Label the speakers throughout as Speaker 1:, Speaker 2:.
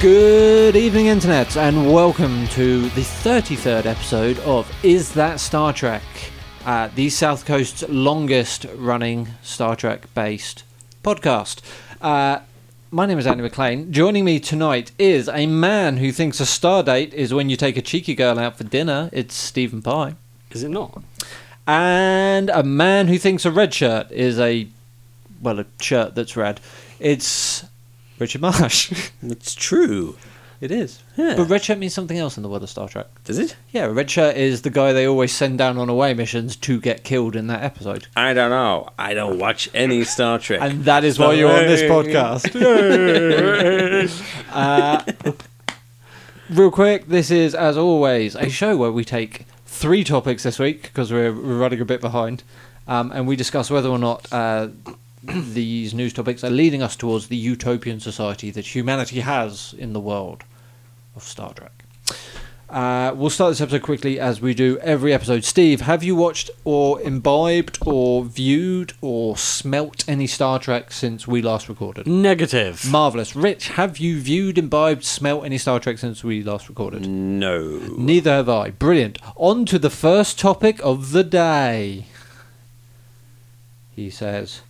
Speaker 1: Good evening, Internet, and welcome to the 33rd episode of Is That Star Trek? Uh, the South Coast's longest running Star Trek based podcast. Uh, my name is Andy McLean. Joining me tonight is a man who thinks a star date is when you take a cheeky girl out for dinner. It's Stephen Pye.
Speaker 2: Is it not?
Speaker 1: And a man who thinks a red shirt is a, well, a shirt that's red. It's Richard Marsh.
Speaker 2: It's true.
Speaker 1: It is.
Speaker 2: Yeah.
Speaker 1: But red shirt means something else in the world of Star Trek.
Speaker 2: Does it?
Speaker 1: Yeah, red shirt is the guy they always send down on away missions to get killed in that episode.
Speaker 2: I don't know. I don't watch any Star Trek.
Speaker 1: And that is why you're on this podcast. Real quick, this is, as always, a show where we take three topics this week because we're, we're running a bit behind. Um, and we discuss whether or not uh, these news topics are leading us towards the utopian society that humanity has in the world of Star Trek. Uh, we'll start this episode quickly as we do every episode. Steve, have you watched or imbibed or viewed or smelt any Star Trek since we last recorded?
Speaker 3: Negative.
Speaker 1: Marvelous. Rich, have you viewed, imbibed, smelt any Star Trek since we last recorded?
Speaker 2: no.
Speaker 1: Neither have I. Brilliant. On to the first topic of the day. He says,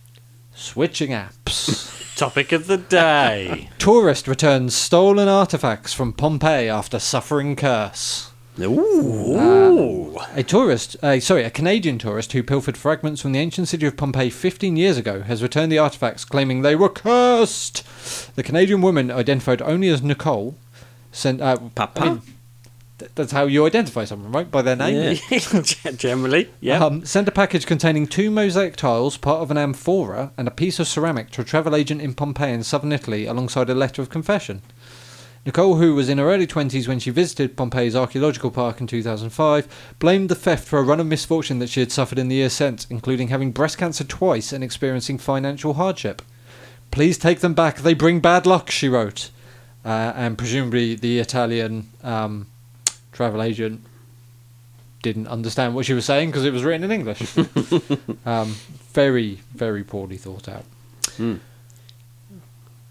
Speaker 1: switching apps.
Speaker 3: Topic of the day.
Speaker 1: Tourist returns stolen artifacts from Pompeii after suffering curse.
Speaker 3: Um,
Speaker 2: Ooh.
Speaker 1: A tourist, uh, sorry, a Canadian tourist who pilfered fragments from the ancient city of Pompeii 15 years ago has returned the artifacts claiming they were cursed. The Canadian woman, identified only as Nicole, sent. Uh,
Speaker 2: Papa?
Speaker 1: th- that's how you identify someone, right? By their name?
Speaker 3: Generally, yeah.
Speaker 1: Um, sent a package containing two mosaic tiles, part of an amphora, and a piece of ceramic to a travel agent in Pompeii in southern Italy alongside a letter of confession. Nicole, who was in her early 20s when she visited Pompeii's archaeological park in 2005, blamed the theft for a run of misfortune that she had suffered in the years since, including having breast cancer twice and experiencing financial hardship. Please take them back, they bring bad luck, she wrote. Uh, and presumably the Italian um, travel agent didn't understand what she was saying because it was written in English. um, very, very poorly thought out.
Speaker 2: Hmm.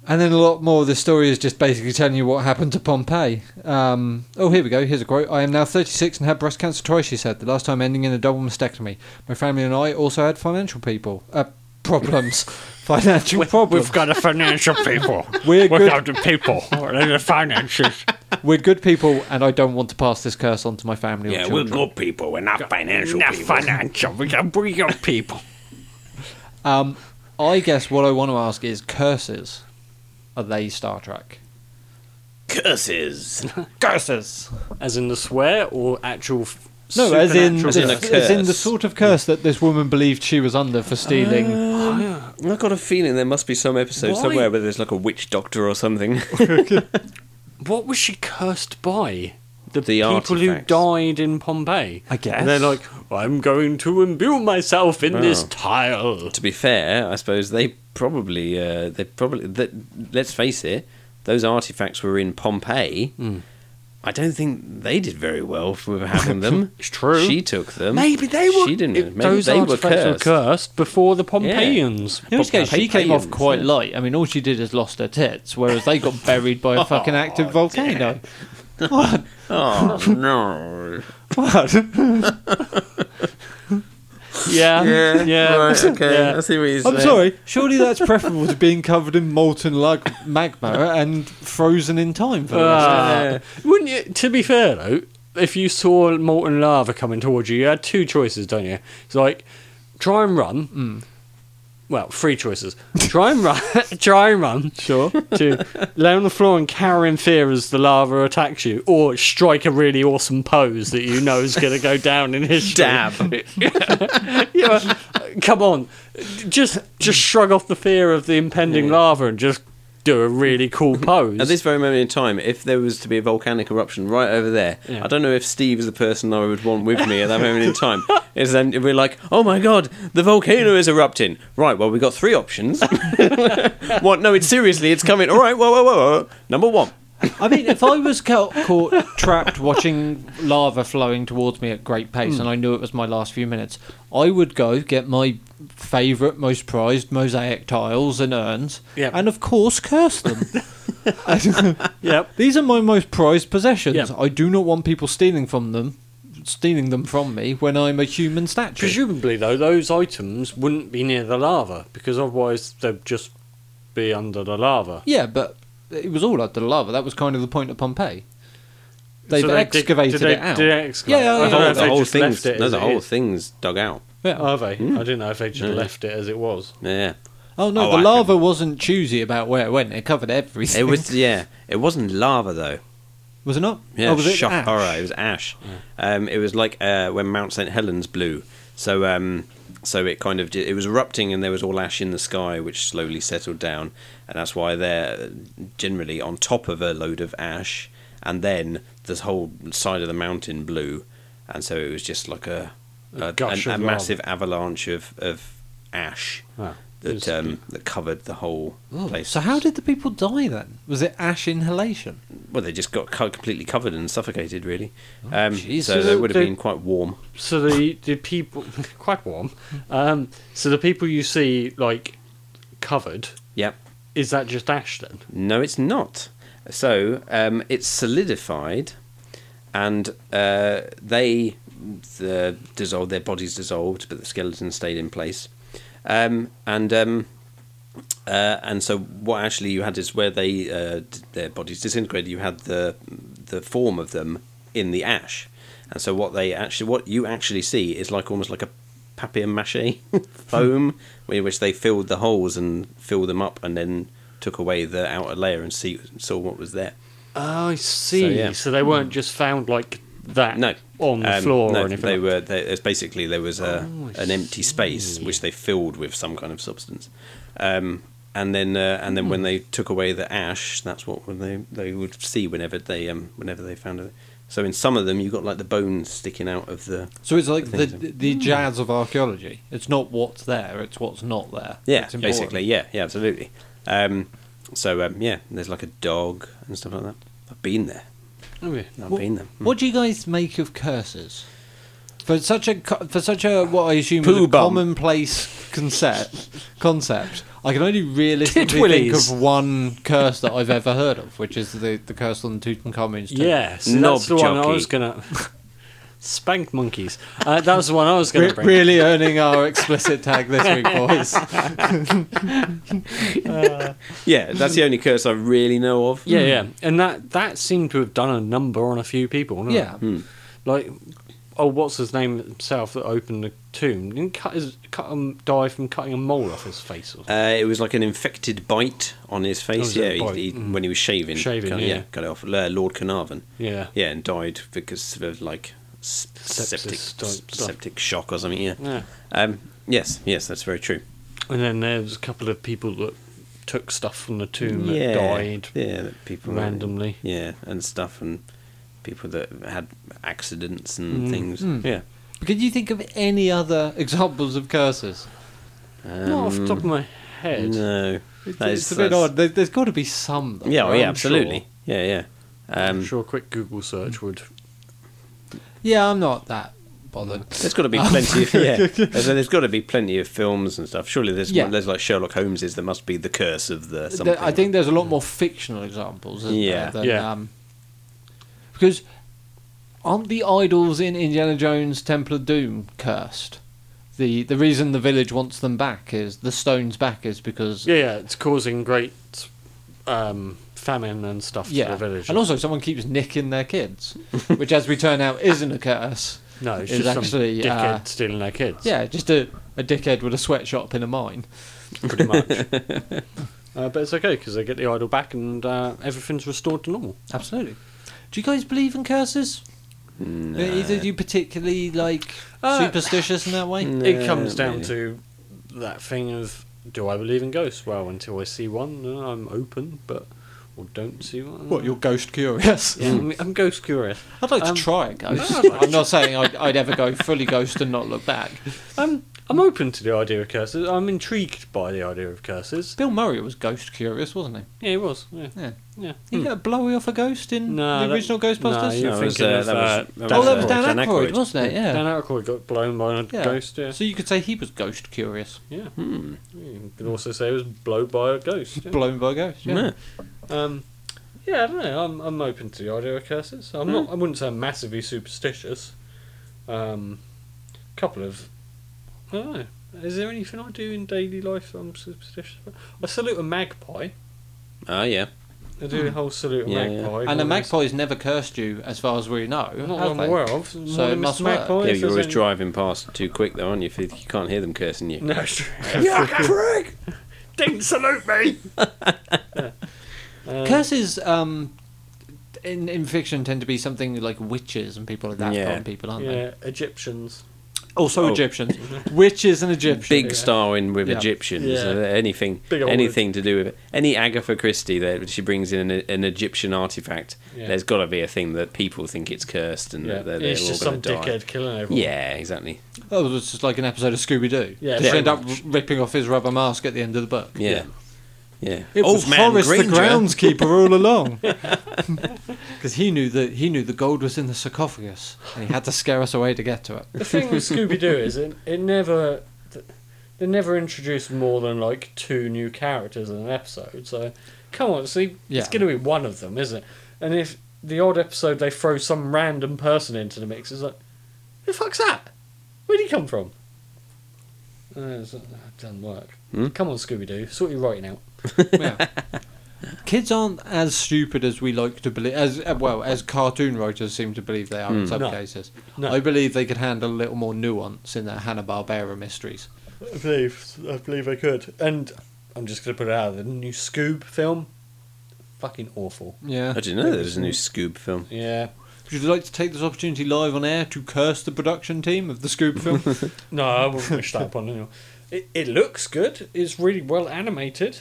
Speaker 1: And then a lot more of the story is just basically telling you what happened to Pompeii. Um, oh, here we go. Here's a quote. I am now 36 and had breast cancer twice, she said, the last time ending in a double mastectomy. My family and I also had financial people. Uh, problems. financial problems.
Speaker 3: We've got a financial people.
Speaker 1: We're
Speaker 3: We're
Speaker 1: good-
Speaker 3: down to people. We're the finances.
Speaker 1: We're good people, and I don't want to pass this curse on to my family. or
Speaker 2: Yeah, we're
Speaker 1: children.
Speaker 2: good people. We're not Ah, financial
Speaker 3: Not
Speaker 2: people.
Speaker 3: financial. We got we got people.
Speaker 1: Um, I guess what I want to ask is curses. Are they Star Trek?
Speaker 2: Curses.
Speaker 1: Curses.
Speaker 3: As in the swear or actual. f-
Speaker 1: No, as in,
Speaker 3: supernatural
Speaker 1: as,
Speaker 2: As
Speaker 1: in
Speaker 2: in a
Speaker 3: curse?
Speaker 2: curse.
Speaker 1: the sort of curse that this woman believed she was under for stealing.
Speaker 2: I've got a feeling there must be some episode
Speaker 3: Why?
Speaker 2: somewhere where there's like a witch doctor or something.
Speaker 3: What was she cursed by?
Speaker 2: The
Speaker 3: people who
Speaker 2: artifacts.
Speaker 3: died in Pompeii.
Speaker 1: I guess.
Speaker 3: And they're like, I'm going to imbue myself in this
Speaker 2: Oh.
Speaker 3: tile.
Speaker 2: to be fair, I suppose they probably, uh, they probably. That, let's face it, those artifacts were in Pompeii.
Speaker 3: Hmm.
Speaker 2: I don't think they did very well for having them.
Speaker 3: It's true.
Speaker 2: She took them.
Speaker 3: Maybe they were.
Speaker 2: She didn't.
Speaker 3: if
Speaker 2: Maybe
Speaker 3: those
Speaker 2: they were
Speaker 3: artifacts
Speaker 2: cursed.
Speaker 3: before the Pompeians.
Speaker 1: in which case, she came off
Speaker 2: Pompeians,
Speaker 1: quite
Speaker 2: yeah.
Speaker 1: light. I mean, all she did is lost her tits, whereas they got buried by
Speaker 3: Oh,
Speaker 1: a fucking active volcano. What?
Speaker 2: Oh no!
Speaker 1: What?
Speaker 3: Yeah, yeah, yeah. yeah.
Speaker 2: see what you're
Speaker 1: I'm sorry. Surely that's preferable to being covered in molten lug- magma and frozen in time for the rest of
Speaker 3: Ah. wouldn't you? To be fair though, if you saw molten lava coming towards you, you had two choices, don't you? It's like try and run. Well, three choices. Try and run. try and run. Sure. To lay on the floor and cower in fear as the lava attacks you, or strike a really awesome pose that you know is going to go down in history.
Speaker 2: Dab.
Speaker 3: yeah, but, come on, just just shrug off the fear of the impending lava and just do a really cool pose.
Speaker 2: At this very moment in time, if there was to be a volcanic eruption right over there,
Speaker 3: Yeah.
Speaker 2: I don't know if Steve is the person I would want with me at that moment in time. Is then we're like, oh my god, the volcano is erupting. Right, well we got three options. what? No, it's seriously, it's coming. All right, whoa, whoa, whoa, whoa. Number one.
Speaker 1: I mean, if I was ca- caught trapped watching lava flowing towards me at great pace
Speaker 3: Hmm.
Speaker 1: and I knew it was my last few minutes, I would go get my favourite, most prized mosaic tiles and urns
Speaker 3: Yep.
Speaker 1: and, of course, curse them.
Speaker 3: Yep.
Speaker 1: These are my most prized possessions.
Speaker 3: Yeah.
Speaker 1: I do not want people stealing from them, stealing them from me when I'm a human statue.
Speaker 3: Presumably, though, those items wouldn't be near the lava because otherwise they'd just be under the lava.
Speaker 1: yeah, but it was all under the lava. That was kind of the point of Pompeii. They've
Speaker 3: So they dig-
Speaker 1: excavated
Speaker 3: did they-
Speaker 1: it out.
Speaker 3: did they excavate?
Speaker 1: Yeah, yeah,
Speaker 3: I
Speaker 1: yeah.
Speaker 3: don't know if
Speaker 2: the
Speaker 3: they
Speaker 2: whole
Speaker 3: just
Speaker 2: thing's
Speaker 3: left it.
Speaker 2: no,
Speaker 3: as
Speaker 2: the
Speaker 3: it
Speaker 2: whole
Speaker 3: is.
Speaker 2: thing's dug out.
Speaker 1: yeah.
Speaker 3: Are they? I didn't know if they just
Speaker 2: Hmm. Yeah.
Speaker 3: left it as it was.
Speaker 2: Yeah,
Speaker 1: oh no,
Speaker 2: Oh,
Speaker 1: the
Speaker 2: I
Speaker 1: lava wasn't choosy about where it went. It covered everything.
Speaker 2: it was. Yeah, it wasn't lava though.
Speaker 1: was it not?
Speaker 2: Yeah,
Speaker 1: oh, was it
Speaker 2: shock
Speaker 1: ash?
Speaker 2: horror. It was ash. Um, it was like uh, when Mount St Helens blew. So, um, so it kind of di- it was erupting, and there was all ash in the sky, which slowly settled down, and that's why they're uh, generally on top of a load of ash, and then this whole side of the mountain blew, and so it was just like a a,
Speaker 3: gush
Speaker 2: an-
Speaker 3: of
Speaker 2: a
Speaker 3: lava.
Speaker 2: massive avalanche of of ash
Speaker 3: Wow.
Speaker 2: that
Speaker 3: It's-
Speaker 2: um, that covered the whole
Speaker 1: Ah, Oh,
Speaker 2: place.
Speaker 1: So how did the people die then? Was it ash inhalation?
Speaker 2: Well, they just got co- completely covered and suffocated, really. Um,
Speaker 1: jeez.
Speaker 2: so
Speaker 3: So
Speaker 2: it would have
Speaker 3: they-
Speaker 2: been quite warm.
Speaker 3: So the the people quite warm. Um, so the people you see like covered
Speaker 2: Yep.
Speaker 3: is that just ash then?
Speaker 2: No, it's not. So um, it's solidified, and uh, they the dissolved. Their bodies dissolved, but the skeleton stayed in place. Um, and um, uh, and so what actually you had is where they uh, d- their bodies disintegrated. You had the the form of them in the ash, and so what they actually what you actually see is like almost like a papier mâché foam, in which they filled the holes and filled them up, and then took away the outer layer and see saw what was there.
Speaker 3: Oh, I see.
Speaker 2: So,
Speaker 3: So,
Speaker 2: yeah.
Speaker 3: they weren't just found like that.
Speaker 2: No,
Speaker 3: on the
Speaker 2: Um,
Speaker 3: floor
Speaker 2: no,
Speaker 3: or anything.
Speaker 2: They
Speaker 3: like-
Speaker 2: were. They, it's basically there was a,
Speaker 3: Oh, I
Speaker 2: an empty space
Speaker 3: see.
Speaker 2: which they filled with some kind of substance, um, and then uh, and then when
Speaker 3: Hmm.
Speaker 2: they took away the ash, that's what when they they would see whenever they um whenever they found it. So in some of them, you got like the bones sticking out of the
Speaker 1: So it's like the
Speaker 2: think so. Hmm.
Speaker 1: the jazz of archaeology. It's not what's there; it's what's not there.
Speaker 2: yeah,
Speaker 1: It's important.
Speaker 2: basically yeah, yeah, absolutely. Um, so um, yeah, there's like a dog and stuff like that. I've been there.
Speaker 3: Oh, yeah.
Speaker 2: I've
Speaker 1: Wha-
Speaker 2: been there. Mm.
Speaker 1: What do you guys make of curses? For such a co- for such a what I assume is
Speaker 2: Poo
Speaker 1: a
Speaker 2: bum.
Speaker 1: commonplace concept concept, I can only realistically think
Speaker 3: Titwillies.
Speaker 1: of one curse that I've ever heard of, which is the, the curse on Tutankhamun's tomb.
Speaker 3: Yeah, so
Speaker 2: Knob
Speaker 3: that's the one I
Speaker 2: jockey.
Speaker 3: was gonna spank monkeys. Uh, that was the one I was gonna
Speaker 1: Re-
Speaker 3: bring.
Speaker 1: really earning our explicit tag this week, boys.
Speaker 2: Yeah, that's the only curse I really know of.
Speaker 3: Yeah,
Speaker 1: Hmm.
Speaker 3: yeah, and that that seemed to have done a number on a few people.
Speaker 2: Hmm.
Speaker 3: didn't it?
Speaker 1: Yeah,
Speaker 3: like oh, what's his name himself that opened the tomb? Didn't cut his cut him die from cutting a mole off his face or something.
Speaker 2: Uh, it was like an infected bite on his face.
Speaker 3: Oh,
Speaker 2: yeah,
Speaker 3: is it a bite?
Speaker 2: he, he, when he was shaving.
Speaker 3: Shaving,
Speaker 2: cut,
Speaker 3: yeah.
Speaker 2: cut it off. Uh, Lord Carnarvon.
Speaker 3: Yeah.
Speaker 2: Yeah, and died because of like s-
Speaker 3: Sepsis
Speaker 2: septic
Speaker 3: type
Speaker 2: s-
Speaker 3: stuff.
Speaker 2: septic shock or something. Yeah.
Speaker 3: Yeah.
Speaker 2: Um, yes, yes, that's very true.
Speaker 3: And then there was a couple of people that took stuff from the tomb
Speaker 2: yeah,
Speaker 3: that died
Speaker 2: Yeah, that people
Speaker 3: randomly.
Speaker 2: Yeah, and stuff and people that had accidents and
Speaker 3: Mm.
Speaker 2: things.
Speaker 1: Mm.
Speaker 2: Yeah.
Speaker 1: Could you think of any other examples of curses?
Speaker 3: Not off the top of
Speaker 2: Um,
Speaker 3: my head.
Speaker 2: No,
Speaker 1: It's,
Speaker 2: That
Speaker 1: it's
Speaker 2: is-
Speaker 1: a bit
Speaker 2: that's-
Speaker 1: odd. There, there's got to be some. Though,
Speaker 2: Yeah, oh,
Speaker 1: right?
Speaker 2: yeah,
Speaker 1: I'm sure.
Speaker 2: absolutely. Yeah, yeah. Um,
Speaker 3: I'm sure a quick Google search would.
Speaker 1: Mm. Yeah, I'm not that bothered.
Speaker 2: There's got to be
Speaker 3: Oh,
Speaker 2: plenty of yeah. There's, there's got to be plenty of films and stuff. Surely there's
Speaker 1: Yeah.
Speaker 2: there's like Sherlock Holmes's. There must be the curse of the
Speaker 1: Th-
Speaker 2: something.
Speaker 1: I think there's a lot more fictional examples. Isn't
Speaker 2: Yeah.
Speaker 1: There, than,
Speaker 3: Yeah.
Speaker 1: Um, because aren't the idols in Indiana Jones Temple of Doom cursed? The the reason the village wants them back is the stones back is because
Speaker 3: Yeah, yeah, it's causing great um, famine and stuff
Speaker 1: Yeah.
Speaker 3: to the village.
Speaker 1: and also someone keeps nicking their kids, which as we turn out isn't a curse.
Speaker 3: no, it's
Speaker 1: it's
Speaker 3: just
Speaker 1: actually,
Speaker 3: some dickhead
Speaker 1: uh,
Speaker 3: stealing their kids.
Speaker 1: Yeah, just a, a dickhead with a sweatshop in a mine.
Speaker 3: pretty much. uh, but it's okay because they get the idol back and uh, everything's restored to normal.
Speaker 1: Absolutely. Do you guys believe in curses?
Speaker 2: No.
Speaker 1: Either do you particularly like
Speaker 3: Uh,
Speaker 1: superstitious in that way?
Speaker 2: Mm.
Speaker 3: it comes
Speaker 2: Yeah,
Speaker 3: down
Speaker 2: maybe.
Speaker 3: to that thing of do I believe in ghosts? Well, until I see one, uh, I'm open, but or don't see one.
Speaker 1: What, you're ghost curious?
Speaker 3: Yeah, I'm, I'm ghost curious.
Speaker 1: I'd like
Speaker 3: Um,
Speaker 1: to try it, guys.
Speaker 3: I'd like
Speaker 1: I'm not saying I'd, I'd ever go fully ghost and not look back.
Speaker 3: Um, I'm open to the idea of curses. I'm intrigued by the idea of curses.
Speaker 1: Bill Murray was ghost curious, wasn't he?
Speaker 3: Yeah, it was. Yeah,
Speaker 1: Yeah. Hmm.
Speaker 3: yeah. Hmm.
Speaker 1: He got a blowy off a ghost in
Speaker 3: No,
Speaker 1: the
Speaker 3: that-
Speaker 1: original Ghostbusters.
Speaker 3: no,
Speaker 2: No,
Speaker 3: You're
Speaker 2: it was,
Speaker 3: thinking
Speaker 2: uh,
Speaker 3: of,
Speaker 2: that
Speaker 3: uh,
Speaker 2: was,
Speaker 1: oh, that was
Speaker 2: uh,
Speaker 1: Dan Aykroyd, wasn't it? Yeah.
Speaker 3: Dan Aykroyd got blown by a
Speaker 1: Yeah.
Speaker 3: ghost. Yeah,
Speaker 1: So you could say he was ghost curious,
Speaker 3: yeah.
Speaker 2: Hmm,
Speaker 3: You can also say it was blown by a ghost. yeah.
Speaker 1: blown by a ghost. Yeah.
Speaker 2: Yeah.
Speaker 3: Um, Yeah, I don't know. I'm, I'm open to the idea of curses. I'm
Speaker 2: Hmm.
Speaker 3: not. I wouldn't say I'm massively superstitious. Um, couple of. I don't know. Is there anything I do in daily life that I'm superstitious about? I salute a magpie.
Speaker 2: Ah, yeah.
Speaker 3: I do the whole salute a
Speaker 2: Hmm. Yeah, yeah.
Speaker 3: magpie.
Speaker 1: And the
Speaker 3: always-
Speaker 1: magpie's never cursed you, as far as we know.
Speaker 3: Not that
Speaker 1: have
Speaker 3: I'm
Speaker 1: they?
Speaker 3: aware of.
Speaker 1: So it must work.
Speaker 2: Yeah,
Speaker 3: if
Speaker 2: you're
Speaker 3: there's
Speaker 2: always
Speaker 3: any-
Speaker 2: driving past too quick, though, aren't you? If you you can't hear them cursing you.
Speaker 3: No, it's true. Um,
Speaker 2: prick!
Speaker 3: Didn't salute me!
Speaker 1: Curses um, in in fiction tend to be something like witches and people like that
Speaker 2: Yeah.
Speaker 1: kind of people, aren't they?
Speaker 3: Yeah, Egyptians.
Speaker 1: Also
Speaker 2: Oh.
Speaker 1: Egyptians, witches and Egyptians.
Speaker 2: Big star in with
Speaker 1: Yeah.
Speaker 2: Egyptians.
Speaker 3: Yeah.
Speaker 2: uh, anything,
Speaker 3: Big old-
Speaker 2: anything to do with it. Any Agatha Christie that she brings in an, an Egyptian artifact,
Speaker 3: Yeah.
Speaker 2: there's got to be a thing that people think it's cursed and
Speaker 3: Yeah,
Speaker 2: that Mm, they're,
Speaker 3: it's
Speaker 2: they're all
Speaker 3: just some
Speaker 2: going to die.
Speaker 3: dickhead killing everyone.
Speaker 2: Yeah, exactly.
Speaker 1: Oh, it was just like an episode of Scooby Doo.
Speaker 3: Yeah,
Speaker 1: just
Speaker 3: pretty
Speaker 1: end up r- ripping off his rubber mask at the end of the book.
Speaker 2: Yeah, yeah.
Speaker 1: It
Speaker 2: Old
Speaker 1: was
Speaker 2: man
Speaker 1: Horace
Speaker 2: Granger.
Speaker 1: the groundskeeper all along, because he knew that he knew the gold was in the sarcophagus, and he had to scare us away to get to it.
Speaker 3: The thing with Scooby Doo is it, it never. th- They never introduced more than like two new characters in an episode, so come on, see,
Speaker 1: Yeah.
Speaker 3: it's going to be one of them, isn't it? And if the odd episode they throw some random person into the mix, it's like, who the fuck's that? Where'd he come from? Uh, it's, uh, it doesn't work.
Speaker 2: Hmm?
Speaker 3: Come on, Scooby Doo, sort your writing out.
Speaker 1: Yeah. Kids aren't as stupid as we like to believe, as uh, well as cartoon writers seem to believe they are
Speaker 2: Hmm.
Speaker 1: in some
Speaker 3: No.
Speaker 1: cases.
Speaker 3: No.
Speaker 1: I believe they could handle a little more nuance in their Hanna Barbera mysteries.
Speaker 3: I believe, I believe I could. And I'm just going to put it out there, the new Scoob film, fucking awful.
Speaker 1: Yeah.
Speaker 2: I didn't know there was a new Scoob film.
Speaker 3: Yeah.
Speaker 1: Uh, Would you like to take this opportunity live on air to curse the production team of the Scoop film?
Speaker 3: No, I wouldn't wish that upon anyone. It, it looks good. It's really well animated,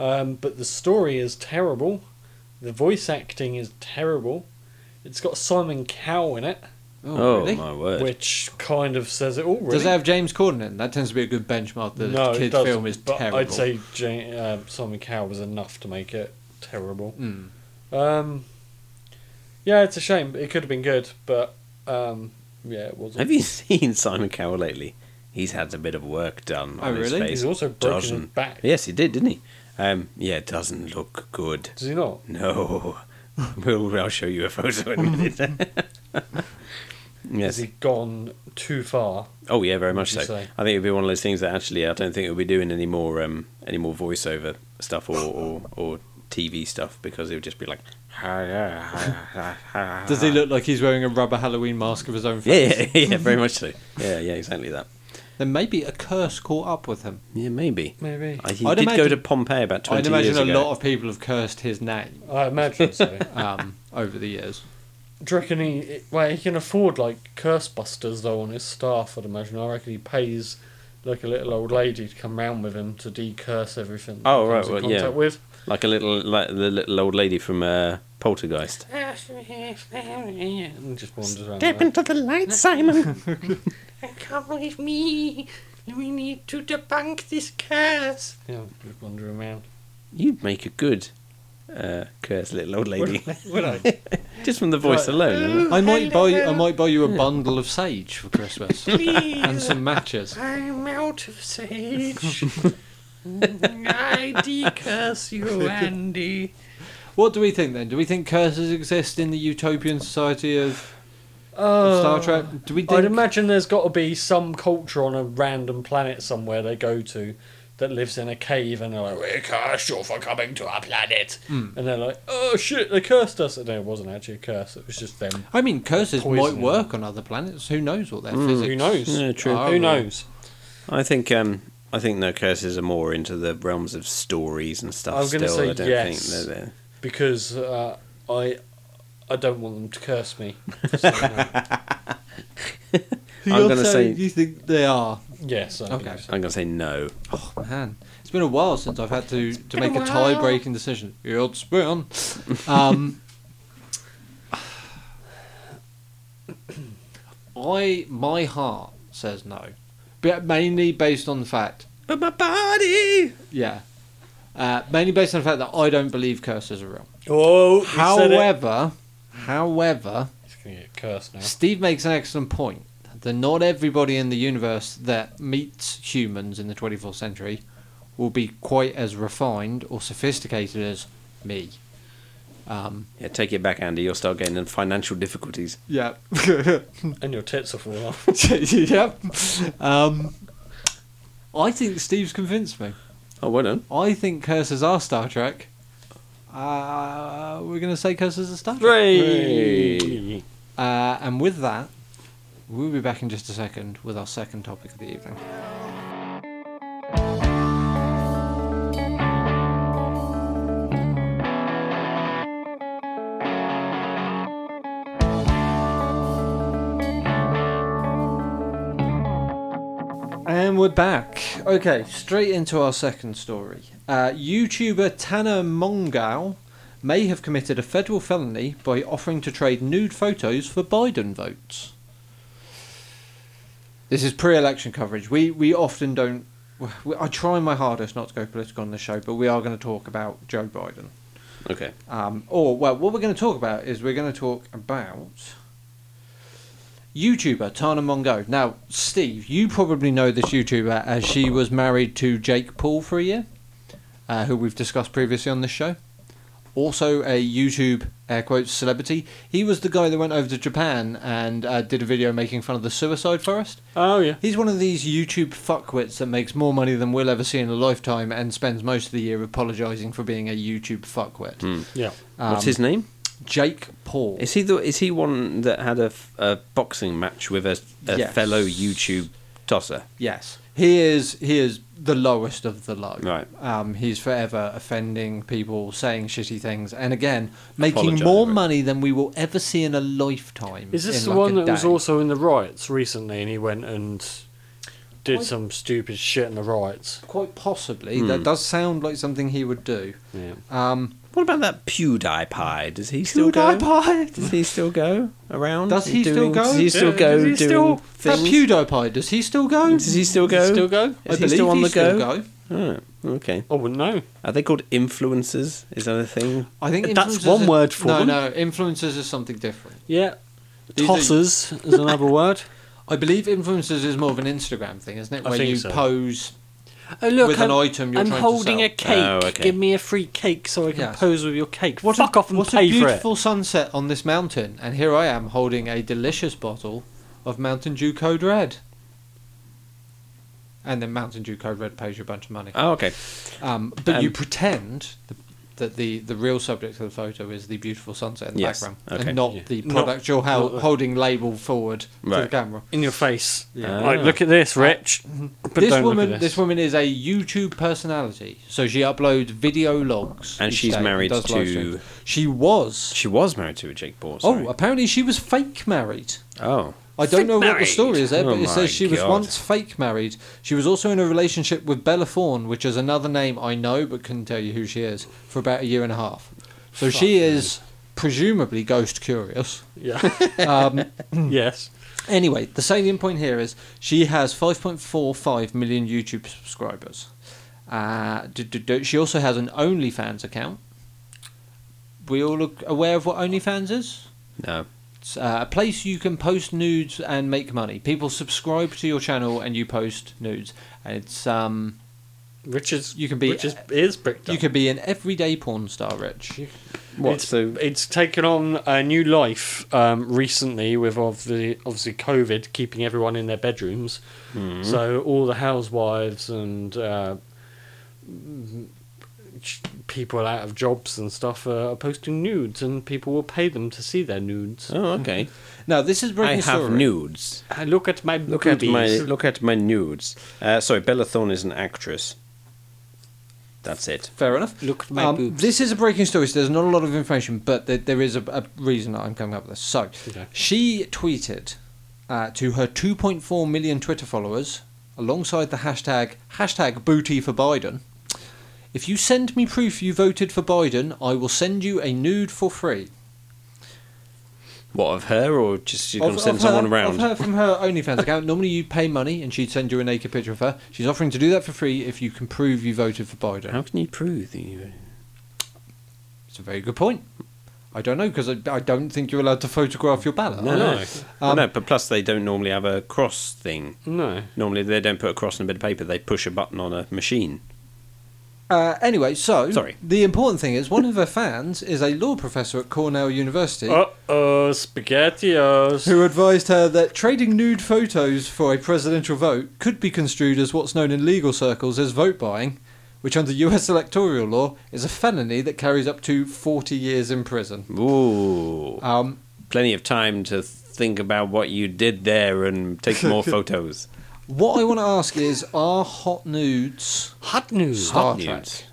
Speaker 3: um, but the story is terrible. The voice acting is terrible. It's got Simon Cowell in it,
Speaker 2: Oh, my word!
Speaker 3: which kind of says it all. Really.
Speaker 1: Does it have James Corden in? That tends to be a good benchmark. The
Speaker 3: no, it
Speaker 1: kids
Speaker 3: doesn't,
Speaker 1: film is
Speaker 3: but
Speaker 1: terrible.
Speaker 3: I'd say Jane, uh, Simon Cowell was enough to make it terrible.
Speaker 1: Mm.
Speaker 3: Um, yeah, it's a shame. It could have been good, but um, yeah, it wasn't.
Speaker 2: Have you seen Simon Cowell lately? He's had a bit of work done
Speaker 1: Oh,
Speaker 2: on his
Speaker 1: really?
Speaker 2: face.
Speaker 3: He's also broken his
Speaker 2: Doesn't-
Speaker 3: back.
Speaker 2: Yes, he did, didn't he? Um, yeah, it doesn't look good.
Speaker 3: Does he not?
Speaker 2: No. We'll, I'll show you a photo in a minute. yes.
Speaker 3: Has he gone too far?
Speaker 2: Oh, yeah, very much so.
Speaker 3: Would you
Speaker 2: I
Speaker 3: say?
Speaker 2: think it would be one of those things that actually I don't think it'll be doing any more um, any more voiceover stuff or, or, or TV stuff because it would just be like.
Speaker 1: Does he look like he's wearing a rubber Halloween mask of his own
Speaker 2: Ah. Yeah,
Speaker 1: face?
Speaker 2: yeah, yeah, very much so. Yeah, yeah, exactly that.
Speaker 1: Then maybe a curse caught up with him.
Speaker 2: Yeah, maybe.
Speaker 3: Maybe.
Speaker 2: Uh, He
Speaker 1: I'd
Speaker 2: did go
Speaker 1: imagine-
Speaker 2: to Pompeii about 20
Speaker 1: I'd imagine
Speaker 2: years ago.
Speaker 1: a lot of people have cursed his name
Speaker 3: I imagine so.
Speaker 1: um, over the years.
Speaker 3: Do you reckon he? Well, he can afford like curse busters though on his staff. I'd imagine. I reckon he pays like a little old lady to come round with him to decurse everything. that
Speaker 2: Oh,
Speaker 3: he
Speaker 2: right,
Speaker 3: comes in
Speaker 2: well, yeah.
Speaker 3: contact With.
Speaker 2: Like a little, like the little old lady from uh, Poltergeist.
Speaker 3: And just wanders around.
Speaker 4: Step
Speaker 3: like
Speaker 4: into the light, Simon.
Speaker 5: Come with me. We need to debunk this curse.
Speaker 3: that. Yeah, just wander around.
Speaker 2: You'd make a good uh, curse, little old lady.
Speaker 3: Would I?
Speaker 2: Just from the voice
Speaker 3: Right.
Speaker 2: alone.
Speaker 1: I might buy I might buy you a bundle of sage for Christmas and
Speaker 5: Please,
Speaker 1: some matches.
Speaker 5: I'm out of sage. I decurse you, Andy.
Speaker 1: What do we think then? Do we think curses exist in the utopian society of
Speaker 2: Uh,
Speaker 3: Oh.
Speaker 1: Star Trek? Do we
Speaker 3: I'd
Speaker 1: think
Speaker 3: imagine there's got to be some culture on a random planet somewhere they go to that lives in a cave and they're like, We're cursed you for coming to our planet.
Speaker 1: Hmm.
Speaker 3: And they're like, Oh shit, they cursed us. No, it wasn't actually a curse, it was just them.
Speaker 1: I mean curses might
Speaker 3: Poisoning.
Speaker 1: work on other planets. Who knows what their physics
Speaker 3: Hmm. Who knows?
Speaker 2: Yeah, true.
Speaker 1: Oh,
Speaker 3: Who
Speaker 1: yeah.
Speaker 3: knows?
Speaker 2: I think, um, I think no curses are more into the realms of stories and stuff.
Speaker 3: I was gonna
Speaker 2: still,
Speaker 3: say
Speaker 2: I don't
Speaker 3: yes.
Speaker 2: think they're there.
Speaker 3: Because uh, I I don't want them to curse me. So, no.
Speaker 2: I'm
Speaker 1: You're
Speaker 2: gonna
Speaker 1: saying
Speaker 2: say-
Speaker 1: You think they are?
Speaker 3: yes, I
Speaker 1: Okay.
Speaker 3: believe so.
Speaker 2: I'm gonna say no.
Speaker 1: Oh man, it's been a while since I've had to, to make
Speaker 5: been
Speaker 1: a
Speaker 5: a
Speaker 1: tie-breaking decision. The old spoon. Um, I my heart says no, but mainly based on the fact,
Speaker 2: But my body.
Speaker 1: yeah, uh, mainly based on the fact that I don't believe curses are real.
Speaker 3: Oh, he said it.
Speaker 1: However, however,
Speaker 3: He's going to get cursed now.
Speaker 1: Steve makes an excellent point that not everybody in the universe that meets humans in the 24th century will be quite as refined or sophisticated as me. Um,
Speaker 2: Yeah, take it back, Andy. You'll start getting in financial difficulties.
Speaker 1: yeah.
Speaker 3: And your tits will fall off.
Speaker 1: yep. Um, I think Steve's convinced me.
Speaker 2: Oh, well done.
Speaker 1: I think curses are Star Trek. Uh, we're going to say curses are Star Trek.
Speaker 2: Hooray.
Speaker 1: Uh, and with that, we'll be back in just a second with our second topic of the evening. And we're back. Okay, straight into our second story. Uh, YouTuber Tanner Mongal may have committed a federal felony by offering to trade nude photos for Biden votes. This is pre-election coverage. We we often don't. We, I try my hardest not to go political on the show, but we are going to talk about Joe Biden.
Speaker 2: Okay.
Speaker 1: Um, or well, what we're going to talk about is we're going to talk about YouTuber Tana Mongo. Now, Steve, you probably know this YouTuber as she was married to Jake Paul for a year, uh, who we've discussed previously on this show. Also, a YouTube air quotes celebrity. He was the guy that went over to Japan and uh, did a video making fun of the suicide forest.
Speaker 3: Oh, yeah.
Speaker 1: He's one of these YouTube fuckwits that makes more money than we'll ever see in a lifetime and spends most of the year apologising for being a YouTube fuckwit.
Speaker 3: Yeah.
Speaker 1: Um,
Speaker 2: What's his name?
Speaker 1: Jake Paul.
Speaker 2: Is he the? Is he one that had a, f- a boxing match with a, a
Speaker 1: Yes.
Speaker 2: fellow YouTube tosser?
Speaker 1: Yes, he is. He is the lowest of the low.
Speaker 2: Right.
Speaker 1: Um, he's forever offending people, saying shitty things, and again making
Speaker 2: Apologising
Speaker 1: more
Speaker 2: for it.
Speaker 1: money than we will ever see in a lifetime.
Speaker 3: Is this
Speaker 1: in,
Speaker 3: the
Speaker 1: like,
Speaker 3: one
Speaker 1: a
Speaker 3: that was
Speaker 1: day.
Speaker 3: also in the riots recently and he went and did
Speaker 1: I-
Speaker 3: some stupid shit in the riots?
Speaker 1: Quite possibly.
Speaker 3: Hmm.
Speaker 1: That does sound like something he would do.
Speaker 3: Yeah.
Speaker 1: Um,
Speaker 2: What about that PewDiePie? Does he still go?
Speaker 1: PewDiePie.
Speaker 2: Does he still go around?
Speaker 1: Does he still
Speaker 2: doing-
Speaker 1: go?
Speaker 2: Does he still
Speaker 3: Yeah,
Speaker 2: go
Speaker 3: does he still-
Speaker 2: doing
Speaker 1: That
Speaker 2: things?
Speaker 1: PewDiePie. Does he still go?
Speaker 2: Does he still go?
Speaker 1: Does he still go?
Speaker 2: Is
Speaker 1: I
Speaker 2: he
Speaker 1: believe
Speaker 2: still on
Speaker 1: he
Speaker 2: the
Speaker 1: still
Speaker 2: go?
Speaker 1: go.
Speaker 2: Oh, okay.
Speaker 3: I wouldn't know.
Speaker 2: Are they called influencers? Is that a thing?
Speaker 1: I think
Speaker 3: That's
Speaker 1: influencers
Speaker 3: one
Speaker 1: are-
Speaker 3: word for
Speaker 1: no,
Speaker 3: them.
Speaker 1: No, influencers is something different.
Speaker 3: Yeah.
Speaker 1: These are-
Speaker 3: Tossers is another word.
Speaker 1: I believe influencers is more of an Instagram thing, isn't it?
Speaker 3: I
Speaker 1: Where
Speaker 3: think
Speaker 1: you
Speaker 3: so.
Speaker 1: pose
Speaker 3: Oh look,
Speaker 1: With an
Speaker 3: I'm,
Speaker 1: item you're
Speaker 3: I'm
Speaker 1: trying to
Speaker 3: holding
Speaker 1: sell.
Speaker 3: a cake.
Speaker 2: Oh, okay.
Speaker 3: Give me a free cake so I can
Speaker 1: Yes.
Speaker 3: pose with your cake.
Speaker 1: What
Speaker 3: Fuck
Speaker 1: a,
Speaker 3: off and
Speaker 1: what
Speaker 3: pay
Speaker 1: a
Speaker 3: for it.
Speaker 1: beautiful sunset on this mountain, and here I am holding a delicious bottle of Mountain Dew Code Red. And then Mountain Dew Code Red pays you a bunch of money.
Speaker 2: Oh, okay.
Speaker 1: Um, but you
Speaker 2: um,
Speaker 1: pretend th- that the, the real subject of the photo is the beautiful sunset in the
Speaker 2: Yes,
Speaker 1: background,
Speaker 2: okay.
Speaker 1: and not
Speaker 3: Yeah.
Speaker 1: the
Speaker 3: Not-
Speaker 1: product you're hel-
Speaker 3: not the-
Speaker 1: holding label forward to the
Speaker 2: Right.
Speaker 1: camera.
Speaker 3: in your face.
Speaker 1: Yeah. Mm-hmm.
Speaker 3: Like,
Speaker 2: Ah.
Speaker 3: look at this, Rich. But
Speaker 1: this
Speaker 3: don't
Speaker 1: woman,
Speaker 3: look at
Speaker 1: this. woman is a YouTube personality, so she uploads video logs,
Speaker 2: And
Speaker 1: each
Speaker 2: she's
Speaker 1: day
Speaker 2: married
Speaker 1: does live
Speaker 2: to-
Speaker 1: streams. She was.
Speaker 2: She was married to a Jake Paul.
Speaker 1: Oh,
Speaker 2: Sorry.
Speaker 1: apparently she was fake married.
Speaker 2: oh.
Speaker 1: I don't
Speaker 3: Fake
Speaker 1: know what the
Speaker 3: married.
Speaker 1: story is there, but
Speaker 2: Oh
Speaker 1: it
Speaker 2: my
Speaker 1: says she was
Speaker 2: God.
Speaker 1: once fake married. She was also in a relationship with Bella Thorne, which is another name I know but couldn't tell you who she is, for about a year and a half. So she is presumably ghost curious.
Speaker 3: Yeah.
Speaker 1: Um,
Speaker 3: yes.
Speaker 1: anyway, the salient point here is she has 5.45 million YouTube subscribers. Uh, d- d- d- she also has an OnlyFans account. We all look aware of what OnlyFans is?
Speaker 2: No.
Speaker 1: It's uh, a place you can post nudes and make money. People subscribe to your channel and you post nudes. And it's um,
Speaker 3: Which is
Speaker 1: You can be-
Speaker 3: which is is bricked up.
Speaker 1: you could be an everyday porn star, Rich.
Speaker 2: What?
Speaker 3: It's,
Speaker 2: so
Speaker 3: it's taken on a new life um, recently with of the obviously COVID keeping everyone in their bedrooms.
Speaker 2: Mm-hmm.
Speaker 3: So all the housewives and uh, m- ch- people out of jobs and stuff are, are posting nudes, and people will pay them to see their nudes.
Speaker 2: Oh, okay.
Speaker 1: Now this is
Speaker 2: I
Speaker 1: breaking
Speaker 2: have
Speaker 1: story.
Speaker 2: nudes.
Speaker 3: I look at my
Speaker 2: Look at
Speaker 3: boobies.
Speaker 2: my look at my nudes. Uh, sorry, Bella Thorne is an actress. That's it.
Speaker 1: Fair enough. Um,
Speaker 3: Look at my boobs.
Speaker 1: This is a breaking story, so there's not a lot of information, but there, there is a, a reason that I'm coming up with this. So,
Speaker 3: Okay.
Speaker 1: she tweeted uh, to her 2.4 million Twitter followers alongside the hashtag hashtag booty for Biden. If you send me proof you voted for Biden, I will send you a nude for free.
Speaker 2: What of her, or just she's
Speaker 1: Of-
Speaker 2: gonna send
Speaker 1: of her-
Speaker 2: someone
Speaker 1: Of
Speaker 2: round?
Speaker 1: her from her OnlyFans account. Normally you pay money and she'd send you a naked picture of her. She's offering to do that for free if you can prove you voted for Biden.
Speaker 2: How can you prove that you?
Speaker 1: Um, It's a very good point. I don't know because I, I don't think you're allowed to photograph your ballot.
Speaker 2: No,
Speaker 1: are you?
Speaker 2: no.
Speaker 3: no.
Speaker 2: Well, no, but plus they don't normally have a cross thing.
Speaker 3: No.
Speaker 2: Normally they don't put a cross on a bit of paper. They push a button on a machine.
Speaker 1: Uh, anyway, so
Speaker 2: Sorry.
Speaker 1: The important thing is one of her fans is a law professor at Cornell University
Speaker 3: Uh oh, spaghettios.
Speaker 1: who advised her that trading nude photos for a presidential vote could be construed as what's known in legal circles as vote buying, which under US electoral law is a felony that carries up to 40 years in prison.
Speaker 2: Ooh.
Speaker 1: Um,
Speaker 2: Plenty of time to think about what you did there and take more photos.
Speaker 1: what I want to ask is are hot nudes
Speaker 3: Hot news.
Speaker 1: Hot
Speaker 2: Hot
Speaker 1: Trek.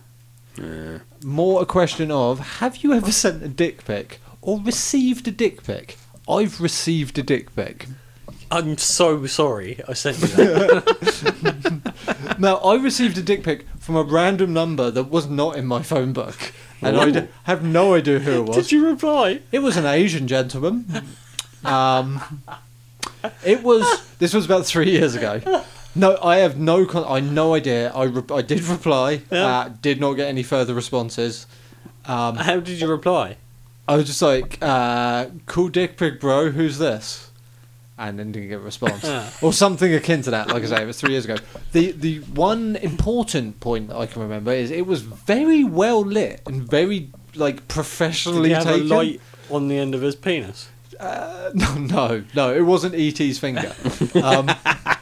Speaker 2: news.
Speaker 1: more a question of have you ever sent a dick pic or received a dick pic? I've received a dick pic.
Speaker 3: I'm so sorry. I sent you that.
Speaker 1: Now, I received a dick pic from a random number that was not in my phone book, and I d- have no idea who it was.
Speaker 3: Did you reply?
Speaker 1: It was an Asian gentleman. Um, it was. This was about three years ago. No, I have no. Con- I no idea. I re- I did reply. Uh,
Speaker 3: Yeah.
Speaker 1: did not get any further responses. Um,
Speaker 3: How did you reply?
Speaker 1: I was just like, uh, "Cool dick pic, bro. Who's this?" And then didn't get a response or something akin to that. Like I say, it was three years ago. The the one important point that I can remember is it was very well lit and very like
Speaker 3: Did
Speaker 1: professionally
Speaker 3: he have a
Speaker 1: taken.
Speaker 3: light on the end of his penis?
Speaker 1: Uh, No, no, no. It wasn't ET's finger. Um,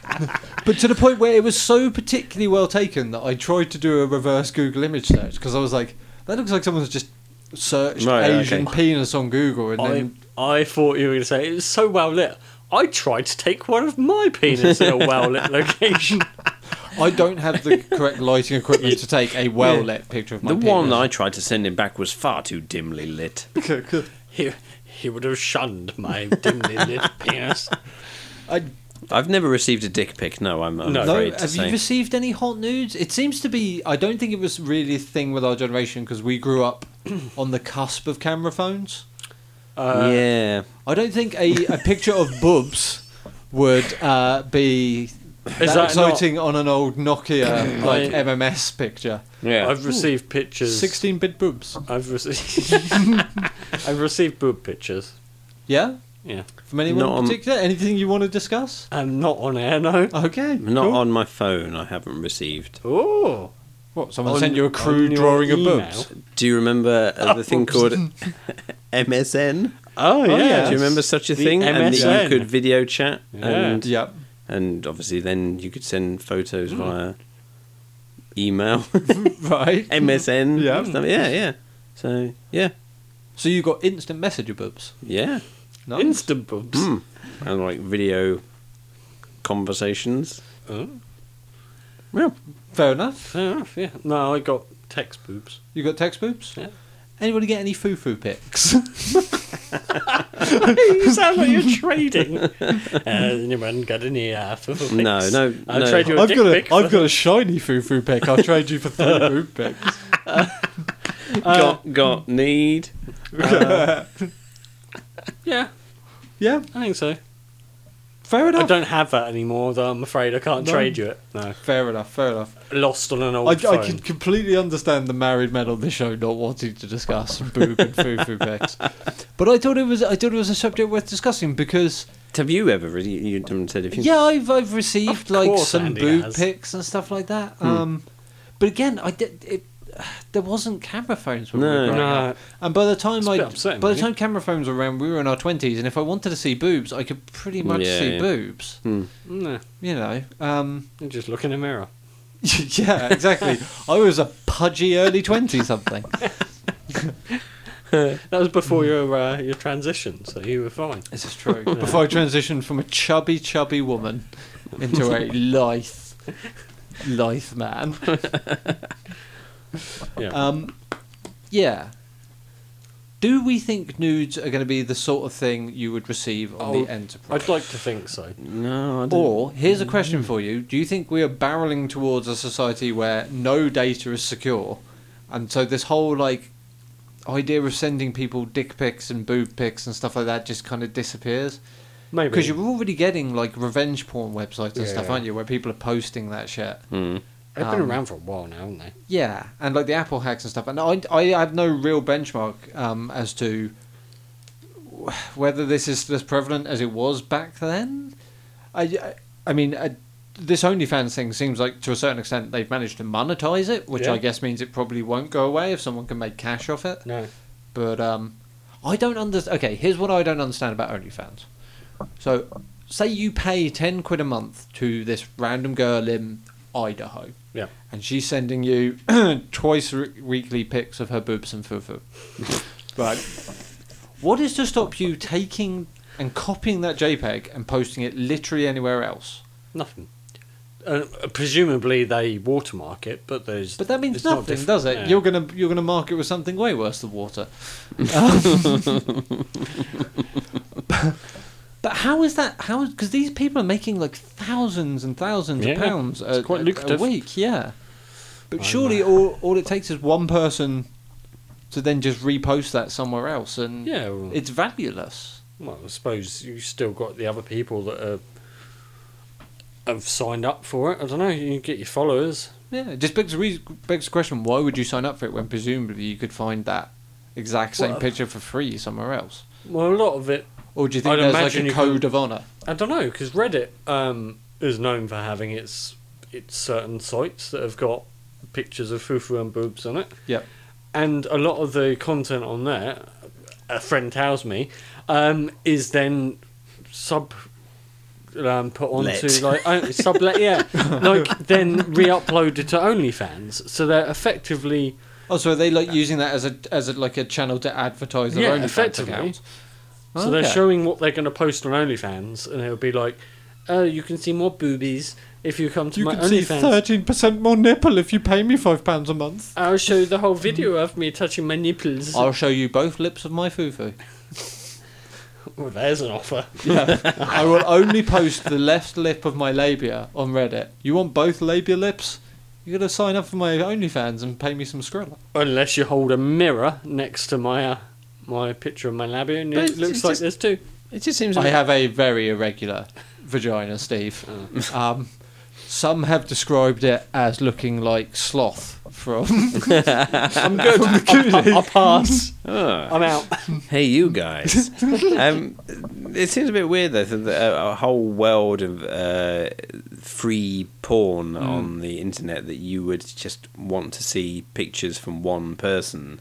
Speaker 1: but to the point where it was so particularly well taken that I tried to do a reverse Google image search because I was like, that looks like someone's just searched
Speaker 2: Right, okay.
Speaker 1: Asian penis on Google and
Speaker 3: I,
Speaker 1: then.
Speaker 3: I thought you were going to say it was so well lit. I tried to take one of my penis in a well lit location.
Speaker 1: I don't have the correct lighting equipment to take a well lit picture of my
Speaker 2: The
Speaker 1: penis.
Speaker 2: one I tried to send him back was far too dimly lit.
Speaker 3: He, he would have shunned my dimly lit penis.
Speaker 1: I,
Speaker 2: I've never received a dick pic. No, I'm, I'm
Speaker 3: No.
Speaker 1: no,
Speaker 2: afraid to
Speaker 1: have
Speaker 2: say.
Speaker 1: you received any hot nudes? It seems to be. I don't think it was really a thing with our generation because we grew up on the cusp of camera phones.
Speaker 3: uh,
Speaker 2: yeah,
Speaker 1: I don't think a, a picture of boobs would uh, be that,
Speaker 3: that not-
Speaker 1: exciting on an old Nokia like
Speaker 3: I-
Speaker 1: MMS picture.
Speaker 2: yeah.
Speaker 3: I've received pictures.
Speaker 1: Sixteen bit boobs.
Speaker 3: I've received. I've received boob pictures.
Speaker 1: Yeah,
Speaker 3: Yeah,
Speaker 1: from anyone
Speaker 2: Not
Speaker 1: in
Speaker 2: on-
Speaker 1: particular. Anything you want to discuss?
Speaker 3: I'm not on air no.
Speaker 1: Okay,
Speaker 2: Not
Speaker 1: cool.
Speaker 2: on my phone. I haven't received.
Speaker 3: Oh,
Speaker 1: What? Someone
Speaker 3: on-
Speaker 1: sent you a
Speaker 3: on
Speaker 1: crude
Speaker 3: your
Speaker 1: drawing of
Speaker 3: email.
Speaker 1: boobs.
Speaker 2: Do you remember uh, the thing
Speaker 1: oops.
Speaker 2: called MSN?
Speaker 3: oh
Speaker 1: yeah.
Speaker 3: yeah.
Speaker 2: Do you remember such a
Speaker 3: The
Speaker 2: thing? And that you
Speaker 3: MSN.
Speaker 2: could video chat,
Speaker 3: Yeah.
Speaker 2: and
Speaker 1: Yep.
Speaker 2: and obviously then you could send photos via email,
Speaker 1: Right.
Speaker 2: MSN.
Speaker 1: Yeah.
Speaker 2: stuff. yeah, yeah. So yeah,
Speaker 1: So you got instant messenger boobs.
Speaker 2: yeah.
Speaker 1: Nice.
Speaker 3: Instant boobs.
Speaker 2: Mm. And like video conversations.
Speaker 3: Oh,
Speaker 2: Well,
Speaker 1: Fair enough.
Speaker 3: fair enough. Yeah. No, I got text boobs.
Speaker 1: You got text boobs.
Speaker 3: Yeah.
Speaker 1: Anybody get any foo foo pics?
Speaker 3: you sound like you're trading. uh, anyone got any uh, for
Speaker 2: No, no,
Speaker 3: I'll
Speaker 2: no.
Speaker 3: trade you a
Speaker 1: I've
Speaker 3: dick
Speaker 1: got
Speaker 3: pic
Speaker 1: a, I've
Speaker 3: for-
Speaker 1: got a shiny foo foo pic. I'll trade you for three boob pics. Uh,
Speaker 2: got got need.
Speaker 3: Yeah,
Speaker 1: Yeah,
Speaker 3: I think so.
Speaker 1: fair enough.
Speaker 3: I don't have that anymore, though. I'm afraid I can't
Speaker 1: No.
Speaker 3: trade you it. No,
Speaker 1: Fair enough. Fair enough.
Speaker 3: lost on an old
Speaker 1: I,
Speaker 3: phone.
Speaker 1: I can completely understand the married men on the show not wanting to discuss boob and foo foo pics, but I thought it was I thought it was a subject worth discussing because
Speaker 2: Have you ever really? You haven't said if you.
Speaker 1: yeah, I've I've received
Speaker 3: Of
Speaker 1: like
Speaker 3: course
Speaker 1: some
Speaker 3: Andy
Speaker 1: boob
Speaker 3: has.
Speaker 1: pics and stuff like that. Um, but again, I did it. There wasn't camera phones when we
Speaker 2: No.
Speaker 1: were growing
Speaker 3: No.
Speaker 1: up, and by the time
Speaker 3: It's a
Speaker 1: I
Speaker 3: bit upsetting,
Speaker 1: by the
Speaker 3: really.
Speaker 1: time camera phones were around, we were in our twenties, and if I wanted to see boobs, I could pretty much
Speaker 2: Yeah,
Speaker 1: see
Speaker 2: yeah.
Speaker 1: boobs.
Speaker 2: Hmm.
Speaker 3: No,
Speaker 1: You know, um,
Speaker 3: you just look in the mirror.
Speaker 1: yeah, exactly. I was a pudgy early twenty something.
Speaker 3: That was
Speaker 1: Mm.
Speaker 3: before your uh, your transition, so you were fine.
Speaker 1: This is true. Before I transitioned from a chubby, chubby woman into a lithe, lithe man.
Speaker 3: Yeah.
Speaker 1: Um, yeah. Do we think nudes are going to be the sort of thing you would receive on
Speaker 3: Oh,
Speaker 1: the Enterprise?
Speaker 3: I'd like to think so.
Speaker 2: No, I don't.
Speaker 1: Or here's a question for you: Do you think we are barreling towards a society where no data is secure, and so this whole like idea of sending people dick pics and boob pics and stuff like that just kind of disappears?
Speaker 3: Maybe
Speaker 1: Because you're already getting like revenge porn websites and
Speaker 3: Yeah.
Speaker 1: stuff, aren't you? Where people are posting that shit.
Speaker 2: Hmm.
Speaker 3: they've been
Speaker 1: um,
Speaker 3: around for a while now, haven't they?
Speaker 1: Yeah, and like the Apple hacks and stuff. And I, I have no real benchmark um, as to wh- whether this is as prevalent as it was back then. I, I mean, I, this OnlyFans thing seems like to a certain extent they've managed to monetize it, which
Speaker 3: Yeah.
Speaker 1: I guess means it probably won't go away if someone can make cash off it.
Speaker 3: No.
Speaker 1: But um, I don't understand. Okay, here's what I don't understand about OnlyFans. So, say you pay ten quid a month to this random girl in Idaho.
Speaker 3: Yeah.
Speaker 1: And she's sending you twice re- weekly pics of her boobs and fufu. right. What is to stop you taking and copying that JPEG and posting it literally anywhere else?
Speaker 3: Nothing. Uh, presumably they watermark it, but there's.
Speaker 1: But that means
Speaker 3: it's not
Speaker 1: nothing,
Speaker 3: different.
Speaker 1: does it?
Speaker 3: Yeah.
Speaker 1: You're gonna you're gonna mark it with something way worse than water. Um, but how is that? How because these people are making like thousands and thousands of
Speaker 3: Yeah,
Speaker 1: pounds
Speaker 3: it's
Speaker 1: a,
Speaker 3: quite
Speaker 1: a-
Speaker 3: lucrative.
Speaker 1: a week, yeah. But
Speaker 3: I
Speaker 1: surely all all it takes is one person to then just repost that somewhere else, and
Speaker 3: Yeah. Well,
Speaker 1: it's valueless.
Speaker 3: well, I suppose you still got the other people that are, have signed up for it. I don't know. You get your followers.
Speaker 1: Yeah, it just begs the reas- begs the question: Why would you sign up for it when presumably you could find that exact same
Speaker 3: Well,
Speaker 1: picture for free somewhere else?
Speaker 3: Well, a lot of it.
Speaker 1: Or do you think
Speaker 3: I'd
Speaker 1: there's
Speaker 3: imagine
Speaker 1: like a
Speaker 3: you
Speaker 1: code of honour?
Speaker 3: I don't know because Reddit um, is known for having its its certain sites that have got pictures of fufu and boobs on it.
Speaker 1: Yep.
Speaker 3: and a lot of the content on there, a friend tells me, um, is then sub um, put onto
Speaker 2: Let.
Speaker 3: like oh, sublet, yeah, like then re-uploaded to OnlyFans, so they're effectively
Speaker 1: Oh, so are they like using that as a as a, like a channel to advertise their
Speaker 3: Yeah,
Speaker 1: own
Speaker 3: effectively.
Speaker 1: accounts?
Speaker 3: so they're
Speaker 1: Okay.
Speaker 3: showing what they're going to post on OnlyFans, and it'll be like, oh, you can see more boobies if you come to my OnlyFans.
Speaker 1: percent more nipple if you pay me five pounds a month.
Speaker 3: I'll show you the whole video of me touching my nipples.
Speaker 1: I'll show you both lips of my fufu.
Speaker 3: Well, there's an offer.
Speaker 1: I will only post the left lip of my labia on Reddit. You want both labia lips? You gotta sign up for my OnlyFans and pay me some Skrilla.
Speaker 3: Unless you hold a mirror next to my uh, my picture of my labia, and it
Speaker 2: But it's-
Speaker 3: looks
Speaker 2: it's
Speaker 3: like
Speaker 2: just-
Speaker 3: this too.
Speaker 2: It just seems.
Speaker 1: I have a very irregular vagina, Steve.
Speaker 2: Oh.
Speaker 1: Um, some have described it as looking like sloth from.
Speaker 3: I'm good. I, I, I pass.
Speaker 2: Ah.
Speaker 3: I'm out.
Speaker 2: Hey, you guys. um, it seems a bit weird though that uh, a, a whole world of uh, free
Speaker 1: Hmm.
Speaker 2: porn on the internet that you would just want to see pictures from one person.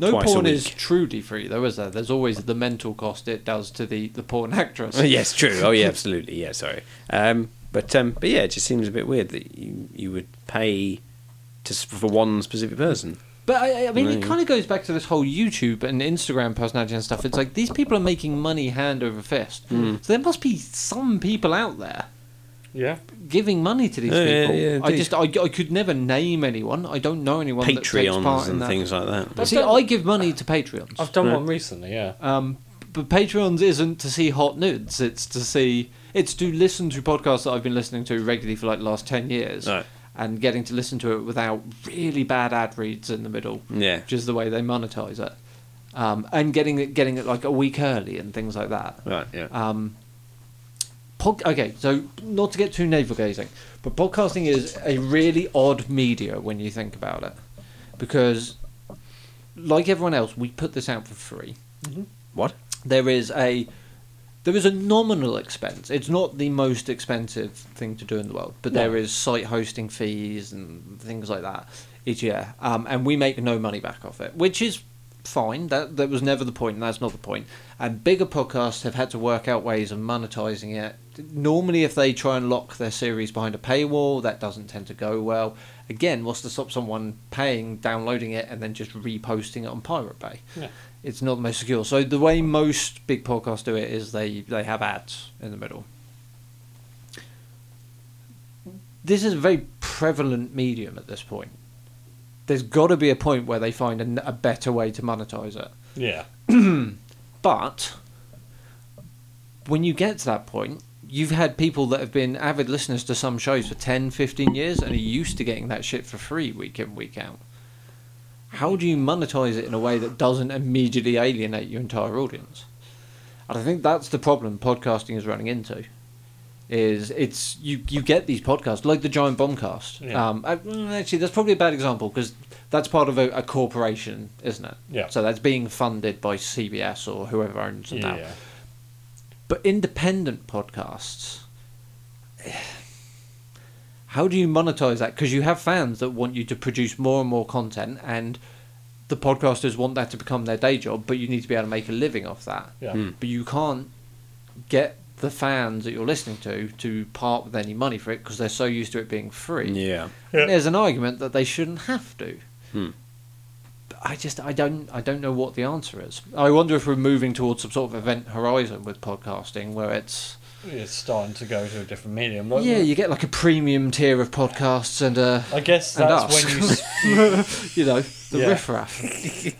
Speaker 1: No
Speaker 2: Twice a
Speaker 1: porn
Speaker 2: week.
Speaker 1: is truly free, though, is there? There's always the mental cost it does to the, the porn actress.
Speaker 2: Oh, yes, true. Oh, yeah, absolutely. Yeah, sorry. Um, but um, but yeah, it just seems a bit weird that you you would pay just for one specific person.
Speaker 1: But I, I mean, it
Speaker 2: Mm.
Speaker 1: kind of goes back to this whole YouTube and Instagram personality and stuff. It's like these people are making money hand over fist.
Speaker 2: Hmm.
Speaker 1: So there must be some people out there
Speaker 3: Yeah.
Speaker 1: giving money to these
Speaker 2: Oh, yeah,
Speaker 1: people.
Speaker 2: yeah,
Speaker 1: I
Speaker 2: indeed.
Speaker 1: just I, I could never name anyone. I don't know anyone that takes part
Speaker 2: Patreons
Speaker 1: in
Speaker 2: and
Speaker 1: that.
Speaker 2: things like that.
Speaker 1: But see, I give money to Patreons.
Speaker 3: I've done one recently. Yeah.
Speaker 1: Um, but Patreons isn't to see hot nudes. It's to see. It's to listen to podcasts that I've been listening to regularly for like the last ten years,
Speaker 2: Right.
Speaker 1: and getting to listen to it without really bad ad reads in the middle,
Speaker 2: Yeah.
Speaker 1: which is the way they monetize it, um, and getting it getting it like a week early and things like that.
Speaker 2: Right. Yeah.
Speaker 1: Um, pod- okay, so not to get too navel gazing, but podcasting is a really odd media when you think about it, because like everyone else, we put this out for free.
Speaker 2: What?
Speaker 1: There is a there is a nominal expense. It's not the most expensive thing to do in the world, but
Speaker 3: No.
Speaker 1: there is site hosting fees and things like that each year, um, and we make no money back off it, which is fine. That that was never the point, and that's not the point. And bigger podcasts have had to work out ways of monetizing it. Normally, if they try and lock their series behind a paywall, that doesn't tend to go well. Again, what's to stop someone paying, downloading it, and then just reposting it on Pirate Bay?
Speaker 3: Yeah.
Speaker 1: It's not the most secure. So the way most big podcasts do it is they they have ads in the middle. This is a very prevalent medium at this point. There's got to be a point where they find an, a better way to monetize it.
Speaker 3: Yeah.
Speaker 1: But when you get to that point, you've had people that have been avid listeners to some shows for 10, 15 years and are used to getting that shit for free week in, week out. How do you monetize it in a way that doesn't immediately alienate your entire audience? And I think that's the problem podcasting is running into. Is it's you you get these podcasts like the Giant Bombcast.
Speaker 3: Yeah.
Speaker 1: Um, I- mm, actually, that's probably a bad example because that's part of a, a corporation, isn't it?
Speaker 3: Yeah.
Speaker 1: So that's being funded by CBS or whoever owns it now.
Speaker 3: Yeah.
Speaker 1: But independent podcasts, How do you monetize that? Because you have fans that want you to produce more and more content, and the podcasters want that to become their day job, but you need to be able to make a living off that. Hmm.
Speaker 3: Yeah.
Speaker 1: But you can't get the fans that you're listening to to part with any money for it because they're so used to it being free.
Speaker 2: Yeah.
Speaker 3: Yeah.
Speaker 1: And there's an argument that they shouldn't have to.
Speaker 2: Hmm.
Speaker 1: But I just I don't I don't know what the answer is. I wonder if we're moving towards some sort of event horizon with podcasting where it's
Speaker 3: It's starting to go to a different medium. Like,
Speaker 1: yeah you get like a premium tier of podcasts and uh
Speaker 3: I guess
Speaker 1: and
Speaker 3: that's
Speaker 1: us.
Speaker 3: when you. s-
Speaker 1: you know the
Speaker 3: Yeah.
Speaker 1: riffraff.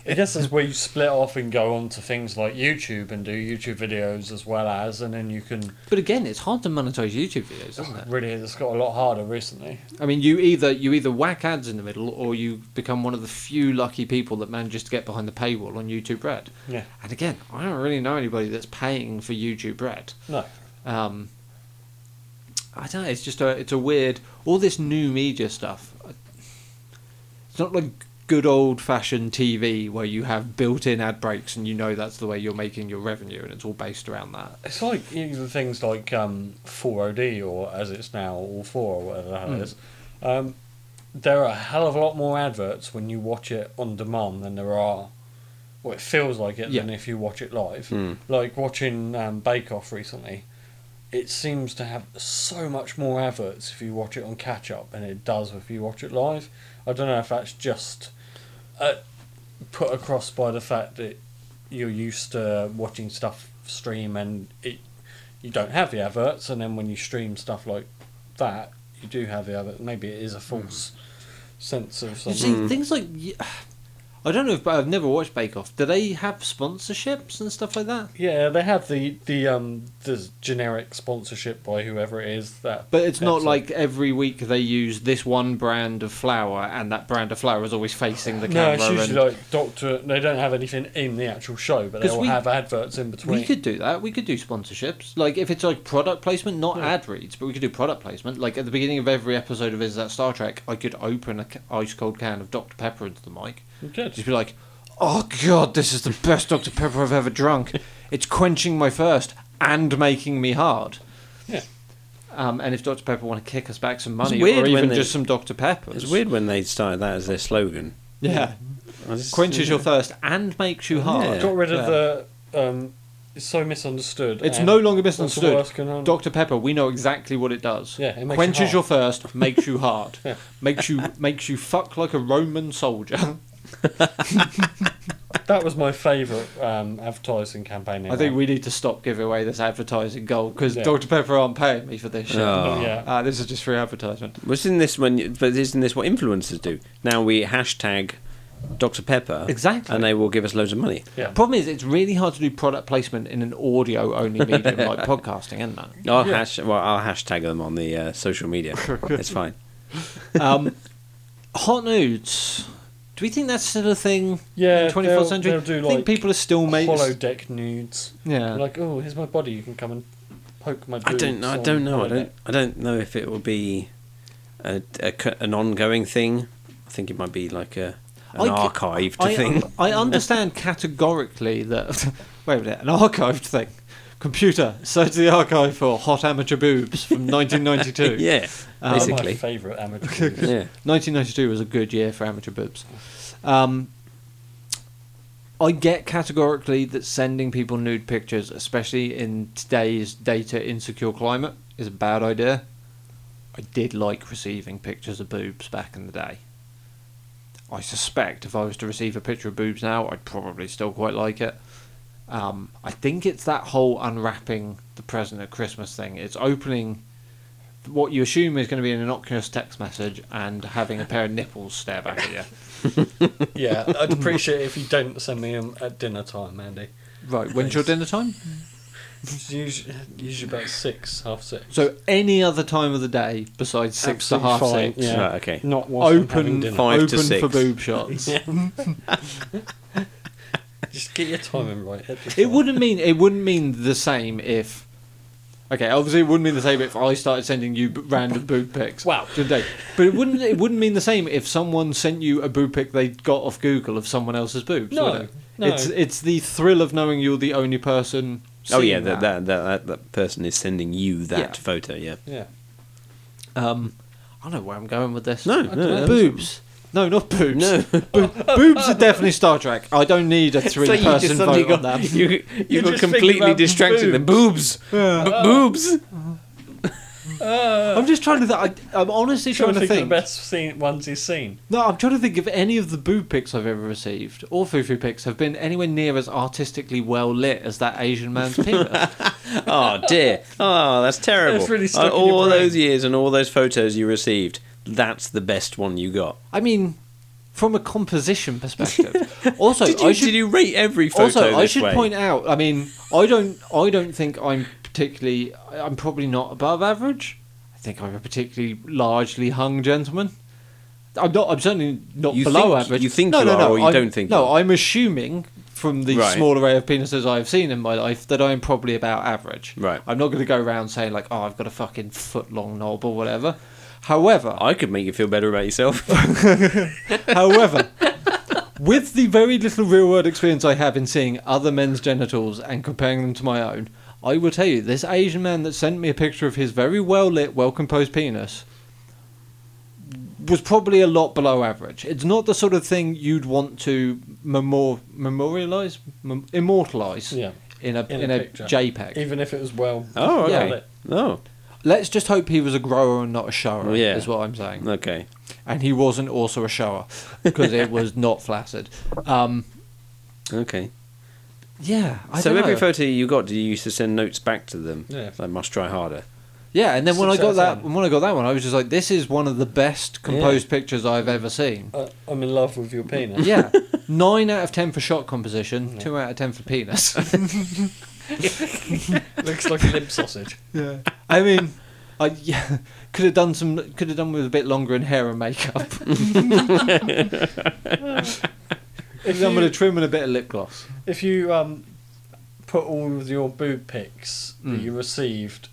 Speaker 3: I guess that's where you split off and go on to things like YouTube and do YouTube videos as well as, and then you can
Speaker 1: But again, it's hard to monetize YouTube videos, isn't it?
Speaker 3: really. It's got a lot harder recently.
Speaker 1: I mean, you either you either whack ads in the middle, or you become one of the few lucky people that manages to get behind the paywall on YouTube Red.
Speaker 3: Yeah.
Speaker 1: And again, I don't really know anybody that's paying for YouTube Red.
Speaker 3: No.
Speaker 1: Um, I don't know. It's just a it's a weird all this new media stuff. It's not like good old fashioned TV where you have built in ad breaks and you know that's the way you're making your revenue and it's all based around that.
Speaker 3: It's like even things like um, 4OD or as it's now, All 4 or whatever the hell it is. Um, there are a hell of a lot more adverts when you watch it on demand than there are, well, it feels like it,
Speaker 1: Yeah.
Speaker 3: than if you watch it live. Like watching um, Bake Off recently, it seems to have so much more adverts if you watch it on catch up than it does if you watch it live. I don't know if that's just uh, put across by the fact that you're used to watching stuff stream and it you don't have the adverts and then when you stream stuff like that you do have the adverts maybe it is a false sense of
Speaker 1: You see,
Speaker 3: something
Speaker 1: things like I don't know, if, but I've never watched Bake Off. Do they have sponsorships and stuff like that?
Speaker 3: yeah they have the the um the generic sponsorship by whoever it is that
Speaker 1: But it's not
Speaker 3: episode.
Speaker 1: like every week they use this one brand of flour, and that brand of flour is always facing the
Speaker 3: no
Speaker 1: camera.
Speaker 3: it's usually
Speaker 1: and-
Speaker 3: like doctor they don't have anything in the actual show but they
Speaker 1: 'Cause
Speaker 3: will
Speaker 1: we-
Speaker 3: have adverts in between
Speaker 1: We could do that. We could do sponsorships. Like if it's like product placement, not ad reads, but we could do product placement. Like at the beginning of every episode of Is That Star Trek, I could open a ca- ice cold can of Dr Pepper into the mic.
Speaker 3: We could.
Speaker 1: Just be like, "Oh God, this is the best Dr Pepper I've ever drunk. It's quenching my thirst and making me hard."
Speaker 3: Yeah.
Speaker 1: Um, and if Dr Pepper want to kick us back some money,
Speaker 2: weird
Speaker 1: or
Speaker 2: when
Speaker 1: even
Speaker 2: they-
Speaker 1: just some Dr Pepper,
Speaker 2: It's weird when they started that as their slogan. Oh,
Speaker 1: Yeah,
Speaker 2: I just-
Speaker 1: quenches your thirst and makes you hard.
Speaker 2: Yeah.
Speaker 3: got rid
Speaker 1: Yeah.
Speaker 3: of the um it's so misunderstood
Speaker 1: It's
Speaker 3: and
Speaker 1: no longer
Speaker 3: um, what's the
Speaker 1: misunderstood.
Speaker 3: worst can happen?
Speaker 1: Dr Pepper, we know exactly what it does.
Speaker 3: Yeah, it makes you
Speaker 1: quenches
Speaker 3: hard.
Speaker 1: your thirst, makes you hard,
Speaker 3: Yeah.
Speaker 1: makes you makes you fuck like a Roman soldier.
Speaker 3: That was my favourite um, advertising campaign.
Speaker 1: I think we need to stop giving away this advertising goal because
Speaker 3: Yeah.
Speaker 1: Dr Pepper aren't paying me for this shit.
Speaker 2: Oh.
Speaker 3: Yeah.
Speaker 1: Uh, this is just free advertisement.
Speaker 2: Wasn't this when? you- But isn't this what influencers do? Now we hashtag Dr Pepper
Speaker 1: Exactly.
Speaker 2: and they will give us loads of money.
Speaker 3: Yeah.
Speaker 1: Problem is, it's really hard to do product placement in an audio only medium like podcasting, isn't it?
Speaker 2: I'll hash. Well, I'll hashtag them on the uh, social media. it's fine.
Speaker 1: Um, hot nudes. Do we think that's still a thing
Speaker 3: Yeah,
Speaker 1: in 24th
Speaker 3: they'll-
Speaker 1: century?
Speaker 3: they'll do,
Speaker 1: I think
Speaker 3: like,
Speaker 1: people are still making.
Speaker 3: Hollow deck nudes.
Speaker 1: Yeah.
Speaker 3: Like, oh, here's my body. You can come and poke my.
Speaker 2: I don't
Speaker 3: boobs
Speaker 2: know. I
Speaker 3: on
Speaker 2: don't know. I
Speaker 3: holodeck."
Speaker 2: don't. I don't know if it will be a, a cu- an ongoing thing. I think it might be like a an
Speaker 1: I-
Speaker 2: archived
Speaker 1: I,
Speaker 2: thing.
Speaker 1: I understand categorically that. Wait a minute, an archived thing. Computer, search the archive for hot amateur boobs from 1992.
Speaker 2: yeah,
Speaker 1: Um,
Speaker 3: They're Uh,
Speaker 2: basically.
Speaker 3: my favourite amateur. nudes.
Speaker 2: yeah.
Speaker 1: 1992 was a good year for amateur boobs. Um, I get categorically that sending people nude pictures, especially in today's data insecure climate, is a bad idea. I did like receiving pictures of boobs back in the day. I suspect if I was to receive a picture of boobs now, I'd probably still quite like it. Um, I think it's that whole unwrapping the present at Christmas thing. It's opening what you assume is going to be an innocuous text message and having a pair of nipples stare back at you.
Speaker 3: yeah, I'd appreciate it if you don't send me them at dinner time, Andy.
Speaker 1: Right, when's your dinner time?
Speaker 3: It's usually, usually about six, half six.
Speaker 1: So any other time of the day besides six
Speaker 3: Absolutely
Speaker 1: to half
Speaker 3: fine,
Speaker 1: six,
Speaker 3: Yeah.
Speaker 2: Right, okay.
Speaker 3: not whilst I'm having
Speaker 1: open
Speaker 3: dinner.
Speaker 2: Five to
Speaker 1: open
Speaker 2: six.
Speaker 1: for boob shots.
Speaker 3: Just get your timing right. at the
Speaker 1: It
Speaker 3: time.
Speaker 1: wouldn't mean it wouldn't mean the same if. Okay, obviously it wouldn't mean the same if I started sending you b- random boob pics.
Speaker 3: Wow.
Speaker 1: during the day. But it wouldn't it wouldn't mean the same if someone sent you a boob pic they got off Google of someone else's boobs.
Speaker 3: No,
Speaker 1: would it?
Speaker 3: no.
Speaker 1: It's it's the thrill of knowing you're the only person.
Speaker 2: Oh
Speaker 1: seeing
Speaker 2: yeah, that that, that that that person is sending you that
Speaker 1: Yeah.
Speaker 2: photo. Yeah.
Speaker 3: Yeah.
Speaker 1: Um, I know where I'm going with this.
Speaker 2: No, no, no.
Speaker 1: boobs. No, not boobs.
Speaker 2: No.
Speaker 1: Bo- boobs are definitely Star Trek. I don't need a three-person vote on
Speaker 2: got,
Speaker 1: that.
Speaker 2: You, you,
Speaker 3: just
Speaker 2: got
Speaker 3: thinking
Speaker 2: completely
Speaker 3: about
Speaker 2: distracted. The boobs, B- boobs.
Speaker 1: I'm just trying to. Th- I, I'm honestly trying, to Ah, think.
Speaker 3: the best scene, ones he's seen.
Speaker 1: No, I'm trying to think if any of the boob pics I've ever received or fufu pics have been anywhere near as artistically well lit as that Asian man's penis.
Speaker 2: Oh dear. Oh, that's terrible.
Speaker 3: It's really stuck in your
Speaker 2: all
Speaker 3: brain.
Speaker 2: those years and all those photos you received. That's the best one you got.
Speaker 1: I mean, from a composition perspective. Also,
Speaker 2: did, you,
Speaker 1: I should
Speaker 2: did you rate every photo?
Speaker 1: also I
Speaker 2: this
Speaker 1: should
Speaker 2: way?
Speaker 1: point out. I mean, I don't. I don't think I'm particularly. I'm probably not above average. I think I'm a particularly largely hung gentleman. I'm not. I'm certainly not
Speaker 2: You
Speaker 1: below
Speaker 2: think-
Speaker 1: average.
Speaker 2: you think
Speaker 1: no,
Speaker 2: you
Speaker 1: no,
Speaker 2: are,
Speaker 1: no.
Speaker 2: or you
Speaker 1: I'm-
Speaker 2: don't think you
Speaker 1: No,
Speaker 2: are?
Speaker 1: I'm assuming from the
Speaker 2: Right.
Speaker 1: small array of penises I've seen in my life that I'm probably about average.
Speaker 2: Right.
Speaker 1: I'm not going to go around saying like, oh, I've got a fucking foot long knob or whatever. However,
Speaker 2: I could make you feel better about yourself.
Speaker 1: However, with the very little real world experience I have in seeing other men's genitals and comparing them to my own, I will tell you this Asian man that sent me a picture of his very well lit, well composed penis was probably a lot below average. It's not the sort of thing you'd want to memor- memorialize, mem- immortalize
Speaker 3: Yeah.
Speaker 1: in a in,
Speaker 3: In a
Speaker 1: a,
Speaker 3: picture.
Speaker 1: JPEG.
Speaker 3: Even if it was well.
Speaker 2: oh,
Speaker 1: Yeah.
Speaker 2: okay. Oh,
Speaker 1: Let's just hope he was a grower and not a shower.
Speaker 2: Well, yeah.
Speaker 1: is what I'm saying.
Speaker 2: Oh, okay.
Speaker 1: And he wasn't also a shower because it was not flaccid. Um,
Speaker 2: Okay.
Speaker 1: Yeah, I
Speaker 2: so
Speaker 1: don't
Speaker 2: every
Speaker 1: know.
Speaker 2: photo you got, did you used to send notes back to them?
Speaker 3: Yeah.
Speaker 2: I must try harder.
Speaker 1: yeah, and then when I
Speaker 3: Six out
Speaker 1: got
Speaker 3: of
Speaker 1: that,
Speaker 3: ten.
Speaker 1: when I got that one, I was just like, "This is one of the best composed pictures I've ever seen."
Speaker 3: Uh, I'm in love with your penis.
Speaker 1: Yeah, nine out of ten for shot composition, two out of ten for penis.
Speaker 3: Looks like a limp sausage.
Speaker 1: yeah, I mean, I yeah, could have done some, could have done with a bit longer in hair and makeup. could have done with a trim and a bit of lip gloss.
Speaker 3: If you um, put all of your boob pics that
Speaker 1: Mm.
Speaker 3: you received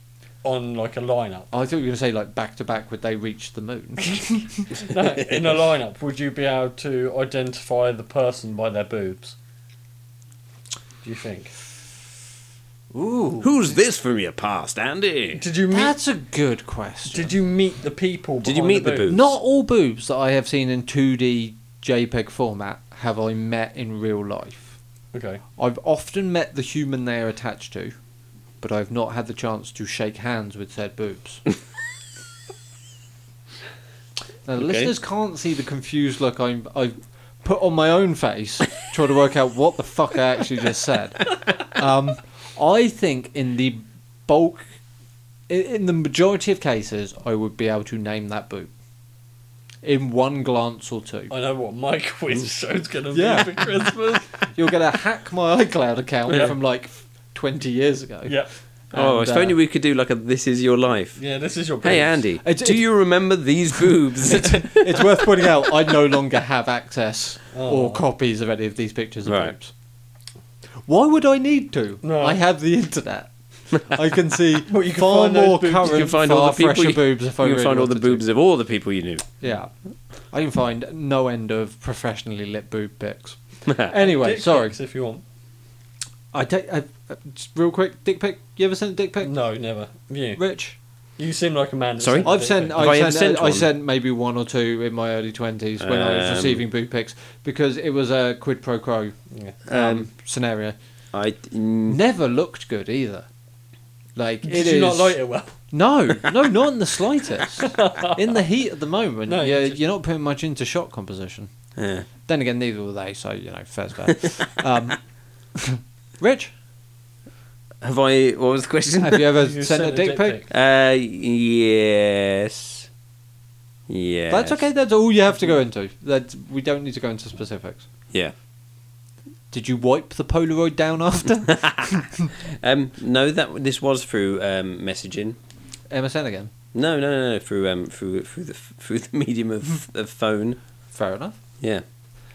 Speaker 3: on like a lineup,
Speaker 1: I thought you were going to say like back to back would they reach the moon?
Speaker 3: no, in a lineup, would you be able to identify the person by their boobs? Do you think?
Speaker 1: Ooh,
Speaker 2: Who's this from your past, Andy?
Speaker 3: Did you meet?
Speaker 1: that's a good question.
Speaker 3: did you meet the people?
Speaker 2: Did you
Speaker 3: behind
Speaker 2: meet the
Speaker 3: boobs?
Speaker 2: boobs?
Speaker 1: Not all boobs that I have seen in 2D JPEG format have I met in real life.
Speaker 3: Okay.
Speaker 1: I've often met the human they are attached to, but I've not had the chance to shake hands with said boobs. now, the
Speaker 2: Okay.
Speaker 1: listeners can't see the confused look I'm, I've put on my own face trying to work out what the fuck I actually just said. Um, I think in the bulk, i- in the majority of cases, I would be able to name that boob in one glance or two.
Speaker 3: I know what my quiz show's gonna
Speaker 1: Yeah.
Speaker 3: be for Christmas.
Speaker 1: You're going to hack my iCloud account
Speaker 3: Yeah.
Speaker 1: from like 20 years ago.
Speaker 3: yeah.
Speaker 2: oh,
Speaker 1: And,
Speaker 2: if only
Speaker 1: uh,
Speaker 2: we could do like a "This Is Your Life."
Speaker 3: Yeah. This is your. Boobs.
Speaker 2: Hey, Andy,
Speaker 1: It's-
Speaker 2: do
Speaker 1: it's-
Speaker 2: you remember these boobs?
Speaker 1: it's worth pointing out I no longer have access
Speaker 3: Oh.
Speaker 1: or copies of any of these pictures of
Speaker 2: Right.
Speaker 1: boobs. Why would I need to?
Speaker 3: No.
Speaker 1: I have the internet. I can see
Speaker 3: Well, you can
Speaker 1: far
Speaker 3: find those
Speaker 1: more
Speaker 3: boobs. You
Speaker 1: current,
Speaker 2: you can find
Speaker 1: far
Speaker 2: all the people.
Speaker 1: fresher
Speaker 2: You,
Speaker 1: boobs if I
Speaker 2: you can
Speaker 1: really
Speaker 2: find all the
Speaker 1: wanted to.
Speaker 2: boobs of all the people you knew.
Speaker 1: Yeah, I can find no end of professionally lit boob pics. anyway,
Speaker 3: Dick
Speaker 1: sorry.
Speaker 3: pics if you want.
Speaker 1: I take I, I- just real quick dick pic. You ever sent a dick pic?
Speaker 3: No, never. You.
Speaker 1: Rich,
Speaker 3: You seem like a man. that
Speaker 2: Sorry?
Speaker 3: sent
Speaker 1: I've
Speaker 3: dick
Speaker 1: sent.
Speaker 3: pics.
Speaker 2: Have I
Speaker 1: I
Speaker 2: ever
Speaker 1: sent.
Speaker 2: sent
Speaker 1: I
Speaker 2: one?
Speaker 1: sent maybe one or two in my early twenties when I was
Speaker 2: Um,
Speaker 1: receiving boob pics because it was a quid pro quo
Speaker 3: Yeah.
Speaker 1: um, scenario.
Speaker 2: I mm,
Speaker 1: never looked good either. Like it is
Speaker 3: Did you not like it well?
Speaker 1: No, no, not in the slightest. in the heat at the moment,
Speaker 3: No,
Speaker 1: you're,
Speaker 3: you just-
Speaker 1: you're not putting much into shot composition.
Speaker 2: yeah.
Speaker 1: Then again, neither were they, so you know, fair's fair. um, Rich,
Speaker 2: have I? What was the question?
Speaker 1: have you ever
Speaker 3: You
Speaker 1: sent, a dick, pic?
Speaker 2: Uh, yes. Yeah.
Speaker 1: That's okay. That's all you have to go into. That we don't need to go into specifics.
Speaker 2: Yeah.
Speaker 1: Did you wipe the Polaroid down after
Speaker 2: Um, no, that this was through um, messaging.
Speaker 1: MSN again?
Speaker 2: No, no, no, no, through um, through through the through the medium of, of phone.
Speaker 1: Fair enough.
Speaker 2: Yeah.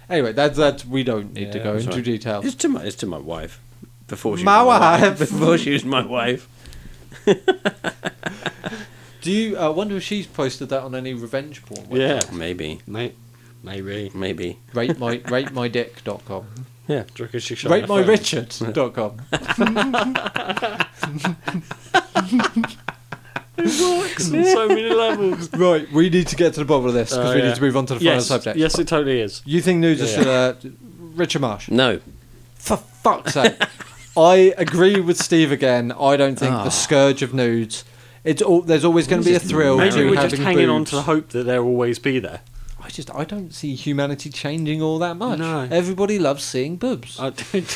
Speaker 1: Anyway, that's that. We don't need to
Speaker 3: Yeah,
Speaker 1: go
Speaker 2: that's
Speaker 1: into
Speaker 2: right.
Speaker 1: details.
Speaker 2: It's to my it's to my wife. Before she
Speaker 1: Oh. My
Speaker 2: was
Speaker 1: wife.
Speaker 2: Before she was my wife.
Speaker 1: Do you uh, wonder if she's posted that on any revenge porn? website?
Speaker 3: Yeah.
Speaker 2: Maybe.
Speaker 3: Mate, maybe.
Speaker 2: Maybe.
Speaker 1: rate my rate my dick.com.
Speaker 3: Yeah. Do you reckon she shot
Speaker 1: rate
Speaker 3: her
Speaker 1: my
Speaker 3: phone?
Speaker 1: richard.com.
Speaker 3: works on so many levels.
Speaker 1: Right, we need to get to the bottom of this because
Speaker 3: Uh,
Speaker 1: we
Speaker 3: yeah.
Speaker 1: need to move on to the final
Speaker 3: yes,
Speaker 1: subject.
Speaker 3: yes, it totally is.
Speaker 1: You think news is
Speaker 3: Yeah.
Speaker 1: uh, Richard Marsh?
Speaker 2: No.
Speaker 1: For fuck's sake. I agree with Steve again. I don't think
Speaker 2: Ah.
Speaker 1: the scourge of nudes. It's all, there's always going to be a thrill
Speaker 3: Maybe
Speaker 1: to
Speaker 3: we're
Speaker 1: having
Speaker 3: just hanging on
Speaker 1: boobs.
Speaker 3: to the hope that they'll always be there.
Speaker 1: I just I don't see humanity changing all that much.
Speaker 3: No.
Speaker 1: Everybody loves seeing boobs.
Speaker 3: I don't-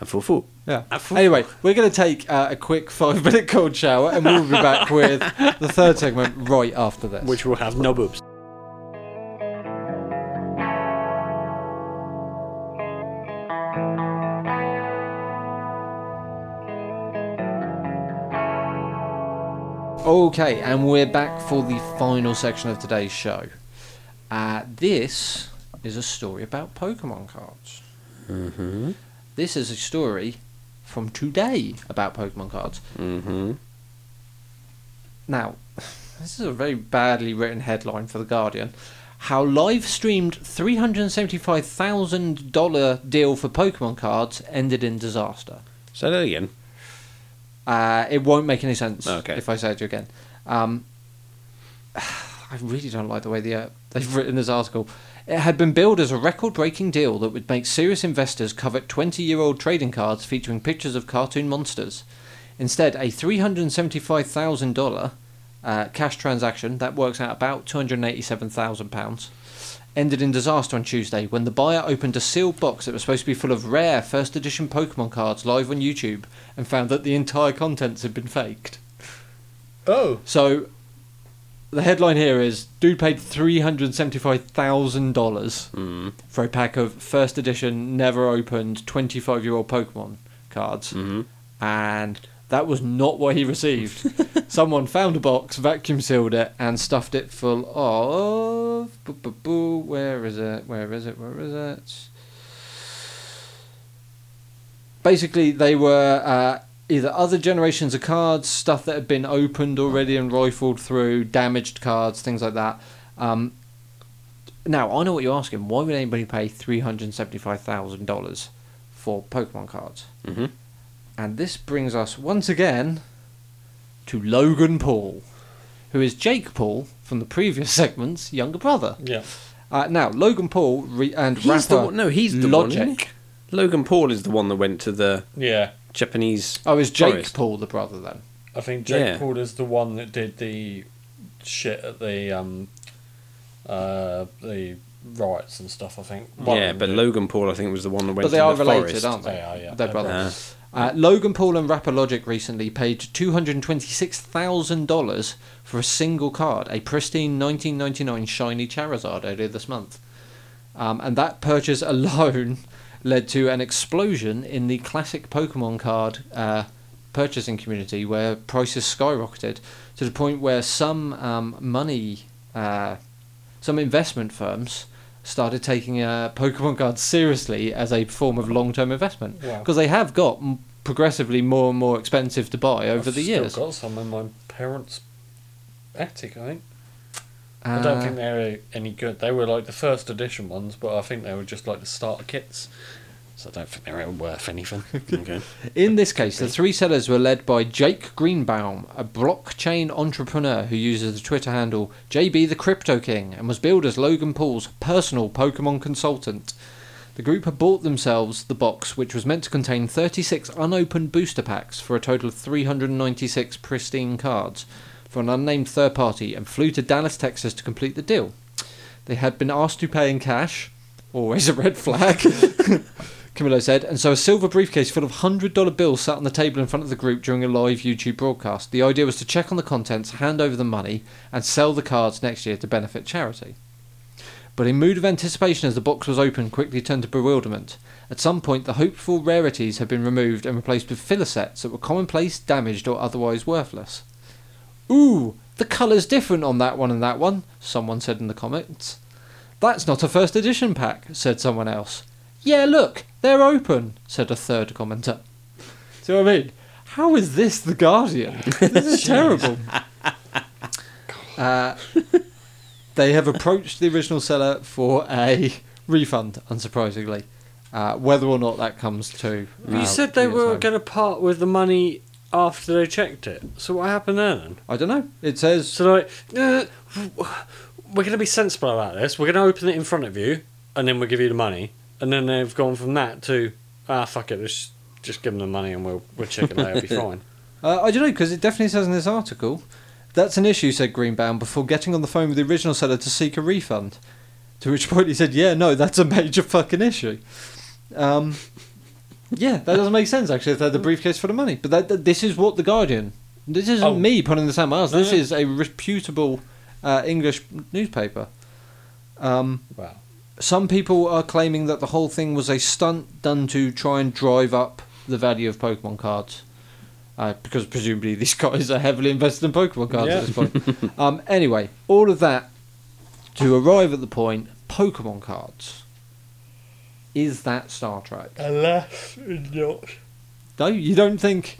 Speaker 2: A full full.
Speaker 1: yeah.
Speaker 3: I thought-
Speaker 1: Anyway, we're going to take uh, a quick five minute cold shower, and we'll be back with the third segment right after this.
Speaker 3: which will have no boobs.
Speaker 1: Okay, and we're back for the final section of today's show. Uh, this is a story about Pokemon cards.
Speaker 2: Mm-hmm.
Speaker 1: This is a story from today about Pokemon cards.
Speaker 2: Mm-hmm.
Speaker 1: Now, this is a very badly written headline for The Guardian. How live streamed $375,000 deal for Pokemon cards ended in disaster.
Speaker 2: Say that again.
Speaker 1: Uh, it won't make any sense
Speaker 2: Okay.
Speaker 1: if I say it to you again. Um, I really don't like the way the, uh, they've written this article. It had been billed as a record breaking deal that would make serious investors covet 20 year old trading cards featuring pictures of cartoon monsters. Instead, a $375,000 uh, cash transaction, that works out about £287,000, ended in disaster on Tuesday when the buyer opened a sealed box that was supposed to be full of rare first edition Pokemon cards live on YouTube and found that the entire contents had been faked.
Speaker 3: Oh,
Speaker 1: So, the headline here is Dude paid $375,000
Speaker 2: Mm.
Speaker 1: for a pack of first edition, never opened 25 year old Pokemon cards.
Speaker 2: Mhm.
Speaker 1: And that was not what he received. Someone found a box, vacuum sealed it, and stuffed it full of. boo, boo, boo, Where is it? Where is it? Where is it? Basically, they were uh, either other generations of cards, stuff that had been opened already and rifled through, damaged cards, things like that. Um, now, I know what you're asking. Why would anybody pay $375,000 for Pokemon cards?
Speaker 2: Mhm.
Speaker 1: And this brings us once again to Logan Paul, who is Jake Paul from the previous segment's younger brother.
Speaker 3: yeah.
Speaker 1: Uh, now, Logan Paul re- and
Speaker 2: He's
Speaker 1: rapper
Speaker 2: the one. No, he's the one,
Speaker 1: Logic.
Speaker 2: isn't he? Logan Paul is the one that went to the
Speaker 3: Yeah.
Speaker 2: Japanese.
Speaker 1: Oh, is Jake
Speaker 2: Forrest.
Speaker 1: Paul the brother then?
Speaker 3: I think
Speaker 2: Jake Yeah. Paul
Speaker 3: is the one that did the shit at the um uh the riots and stuff, I think.
Speaker 2: yeah, but Logan Paul, I think, was the one that went
Speaker 1: But they
Speaker 2: to
Speaker 1: are
Speaker 2: the
Speaker 1: related,
Speaker 2: forest.
Speaker 1: aren't they?
Speaker 3: They are, yeah.
Speaker 1: They're
Speaker 3: They're
Speaker 1: brothers. Uh, Logan Paul and rapper Logic recently paid $226,000 for a single card, a pristine 1999 shiny Charizard earlier this month. Um, and that purchase alone led to an explosion in the classic Pokemon card uh, purchasing community where prices skyrocketed to the point where some um, money, uh, some investment firms started taking uh, Pokemon cards seriously as a form of long term investment.
Speaker 3: Wow.
Speaker 1: Because they have got m- progressively more and more expensive to buy over the years.
Speaker 3: got some in my parents' attic, I think. I
Speaker 1: Uh,
Speaker 3: don't think they're any good. They were like the first edition ones, but I think they were just like the starter kits. So I don't think they're worth anything.
Speaker 2: Okay.
Speaker 1: In this case, the three sellers were led by Jake Greenbaum, a blockchain entrepreneur who uses the Twitter handle JB the Crypto King and was billed as Logan Paul's personal Pokemon consultant. The group had bought themselves the box, which was meant to contain 36 unopened booster packs for a total of 396 pristine cards for an unnamed third party and flew to Dallas, Texas to complete the deal. They had been asked to pay in cash, always a red flag. Camillo said, and so a silver briefcase full of $100 bills sat on the table in front of the group during a live YouTube broadcast. The idea was to check on the contents, hand over the money, and sell the cards next year to benefit charity. But in mood of anticipation as the box was opened quickly turned to bewilderment. At some point, the hopeful rarities had been removed and replaced with filler sets that were commonplace, damaged, or otherwise worthless. Ooh, the colour's different on that one and that one, someone said in the comments. That's not a first edition pack, said someone else. Yeah, look, they're open, said a third commenter. See what I mean? How is this the Guardian? This is terrible. Uh, they have approached the original seller for a refund, unsurprisingly. Uh, whether or not that comes to.
Speaker 3: you
Speaker 1: uh,
Speaker 3: said they
Speaker 1: years
Speaker 3: were
Speaker 1: time.
Speaker 3: going to part with the money after they checked it. So what happened then?
Speaker 1: I don't know. It says
Speaker 3: So like, "Uh, we're going to be sensible about this. We're going to open it in front of you, and then we'll give you the money. And then they've gone from that to ah fuck it, let's just give them the money and we'll we'll check it later. It'll be fine.
Speaker 1: Uh, I don't know because it definitely says in this article that's an issue, said Greenbaum before getting on the phone with the original seller to seek a refund. To which point he said, "Yeah, no, that's a major fucking issue." Um, yeah, that doesn't make sense actually. If they had the briefcase for the money, but that, that- this is what the Guardian. This isn't
Speaker 3: Oh.
Speaker 1: me putting this out my arse.
Speaker 3: No,
Speaker 1: This
Speaker 3: no.
Speaker 1: is a reputable uh, English newspaper. Um,
Speaker 3: Wow.
Speaker 1: some people are claiming that the whole thing was a stunt done to try and drive up the value of Pokemon cards. Uh, because presumably these guys are heavily invested in Pokemon cards
Speaker 3: Yeah.
Speaker 1: at this point. um, anyway, all of that to arrive at the point Pokemon cards. Is that Star Trek?
Speaker 3: Alas, not.
Speaker 1: No, you don't think.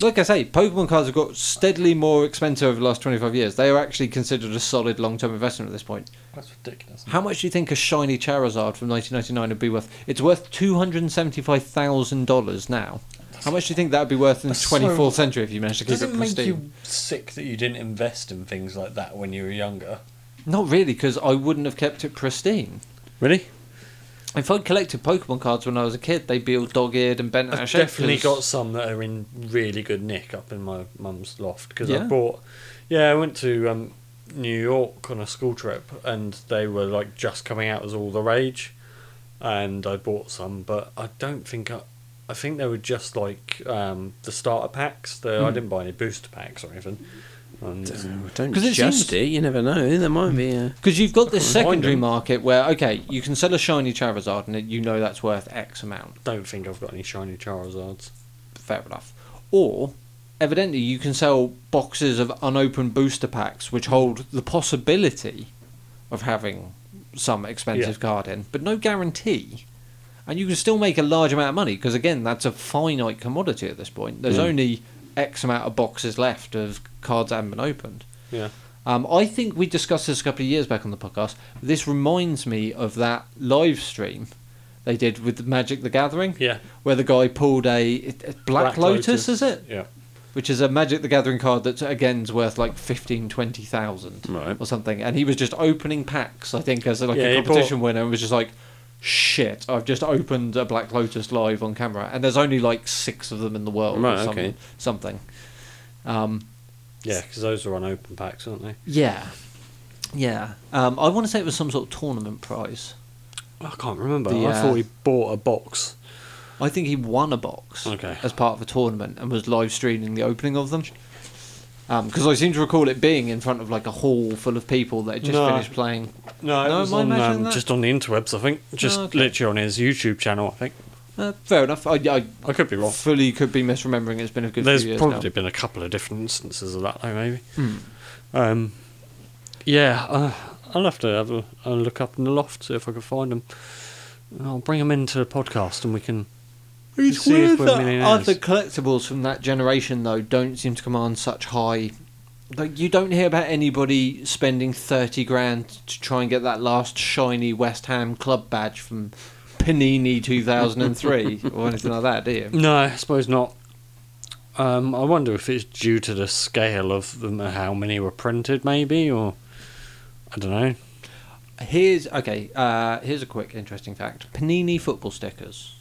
Speaker 1: Like I say, Pokemon cards have got steadily more expensive over the last 25 years. They are actually considered a solid long term investment at this point.
Speaker 3: That's ridiculous.
Speaker 1: How much do you think a shiny Charizard from 1999 would be worth? It's worth $275,000 now. How much do you think that would be worth in the
Speaker 3: That's so-
Speaker 1: 24th century if you managed to keep it pristine?
Speaker 3: sick that you didn't invest in things like that when you were younger?
Speaker 1: Not really, because I wouldn't have kept it pristine.
Speaker 3: Really?
Speaker 1: If I'd collected Pokemon cards when I was a kid, they'd be all dog eared and bent out of
Speaker 3: I've
Speaker 1: shape.
Speaker 3: definitely
Speaker 1: 'cause-
Speaker 3: got some that are in really good nick up in my mum's loft because
Speaker 1: Yeah.
Speaker 3: I bought. Yeah, I went to um, New York on a school trip and they were like just coming out as all the rage, and I bought some, but I don't think I. I think they were just like um, the starter packs. The,
Speaker 1: Hmm.
Speaker 3: I didn't buy any booster packs or anything. And
Speaker 2: Don't
Speaker 1: 'Cause it
Speaker 2: just
Speaker 1: seems-
Speaker 2: it. You never know. There might be a.
Speaker 1: Because you've got this
Speaker 3: Fucking mind
Speaker 1: secondary
Speaker 3: them.
Speaker 1: market where, okay, you can sell a shiny Charizard and it- you know that's worth X amount.
Speaker 3: don't think I've got any shiny Charizards.
Speaker 1: Fair enough. Or, evidently, you can sell boxes of unopened booster packs which hold the possibility of having some expensive
Speaker 3: Yeah.
Speaker 1: card in, but no guarantee. And you can still make a large amount of money because, again, that's a finite commodity at this point. There's only X amount of boxes left of cards that haven't been opened.
Speaker 3: Yeah.
Speaker 1: Um, I think we discussed this a couple of years back on the podcast. This reminds me of that live stream they did with Magic the Gathering,
Speaker 3: Yeah.
Speaker 1: where the guy pulled a, a Black, Lotus, is it?
Speaker 3: Yeah.
Speaker 1: Which is a Magic the Gathering card that again's worth like fifteen, twenty thousand
Speaker 2: Right.
Speaker 1: or something. And he was just opening packs, I think, as like
Speaker 3: Yeah,
Speaker 1: a
Speaker 3: he
Speaker 1: competition winner, and was just like, "Shit, I've just opened a Black Lotus live on camera, and there's only like six of them in the world,
Speaker 2: Right,
Speaker 1: or some-
Speaker 2: okay.
Speaker 1: something." Um,
Speaker 3: Yeah, because those are unopened packs, aren't they?
Speaker 1: yeah. Yeah. Um, I want to say it was some sort of tournament prize.
Speaker 3: I can't remember.
Speaker 1: The,
Speaker 3: I
Speaker 1: uh,
Speaker 3: thought we bought a box.
Speaker 1: I think he won a box
Speaker 3: Okay.
Speaker 1: as part of a tournament and was live streaming the opening of them. Because I seem to recall it being in front of like a hall full of people that had just
Speaker 3: No.
Speaker 1: finished playing.
Speaker 3: No, it
Speaker 1: No,
Speaker 3: was
Speaker 1: am I
Speaker 3: on,
Speaker 1: imagining
Speaker 3: um,
Speaker 1: that?
Speaker 3: just on the interwebs, I think. Just
Speaker 1: okay.
Speaker 3: literally on his YouTube channel, I think.
Speaker 1: Uh, fair enough. I,
Speaker 3: I could be
Speaker 1: I
Speaker 3: wrong.
Speaker 1: fully could be misremembering. It's been a good
Speaker 3: There's
Speaker 1: few years
Speaker 3: probably
Speaker 1: now.
Speaker 3: been a couple of different instances of that, though, maybe. Um, yeah, uh, I'll have to have a, a look up in the loft, see if I can find them. I'll bring them into the podcast and we can.
Speaker 1: It's
Speaker 3: see
Speaker 1: weird
Speaker 3: if we're
Speaker 1: that
Speaker 3: millionaires.
Speaker 1: other collectibles from that generation though don't seem to command such high. Like you don't hear about anybody spending thirty grand to try and get that last shiny West Ham club badge from Panini two thousand and three or anything like that, do you?
Speaker 3: No, I suppose not. Um, I wonder if it's due to the scale of them, how many were printed, maybe, or. I don't know.
Speaker 1: Here's okay. Uh, here's a quick interesting fact: Panini football stickers.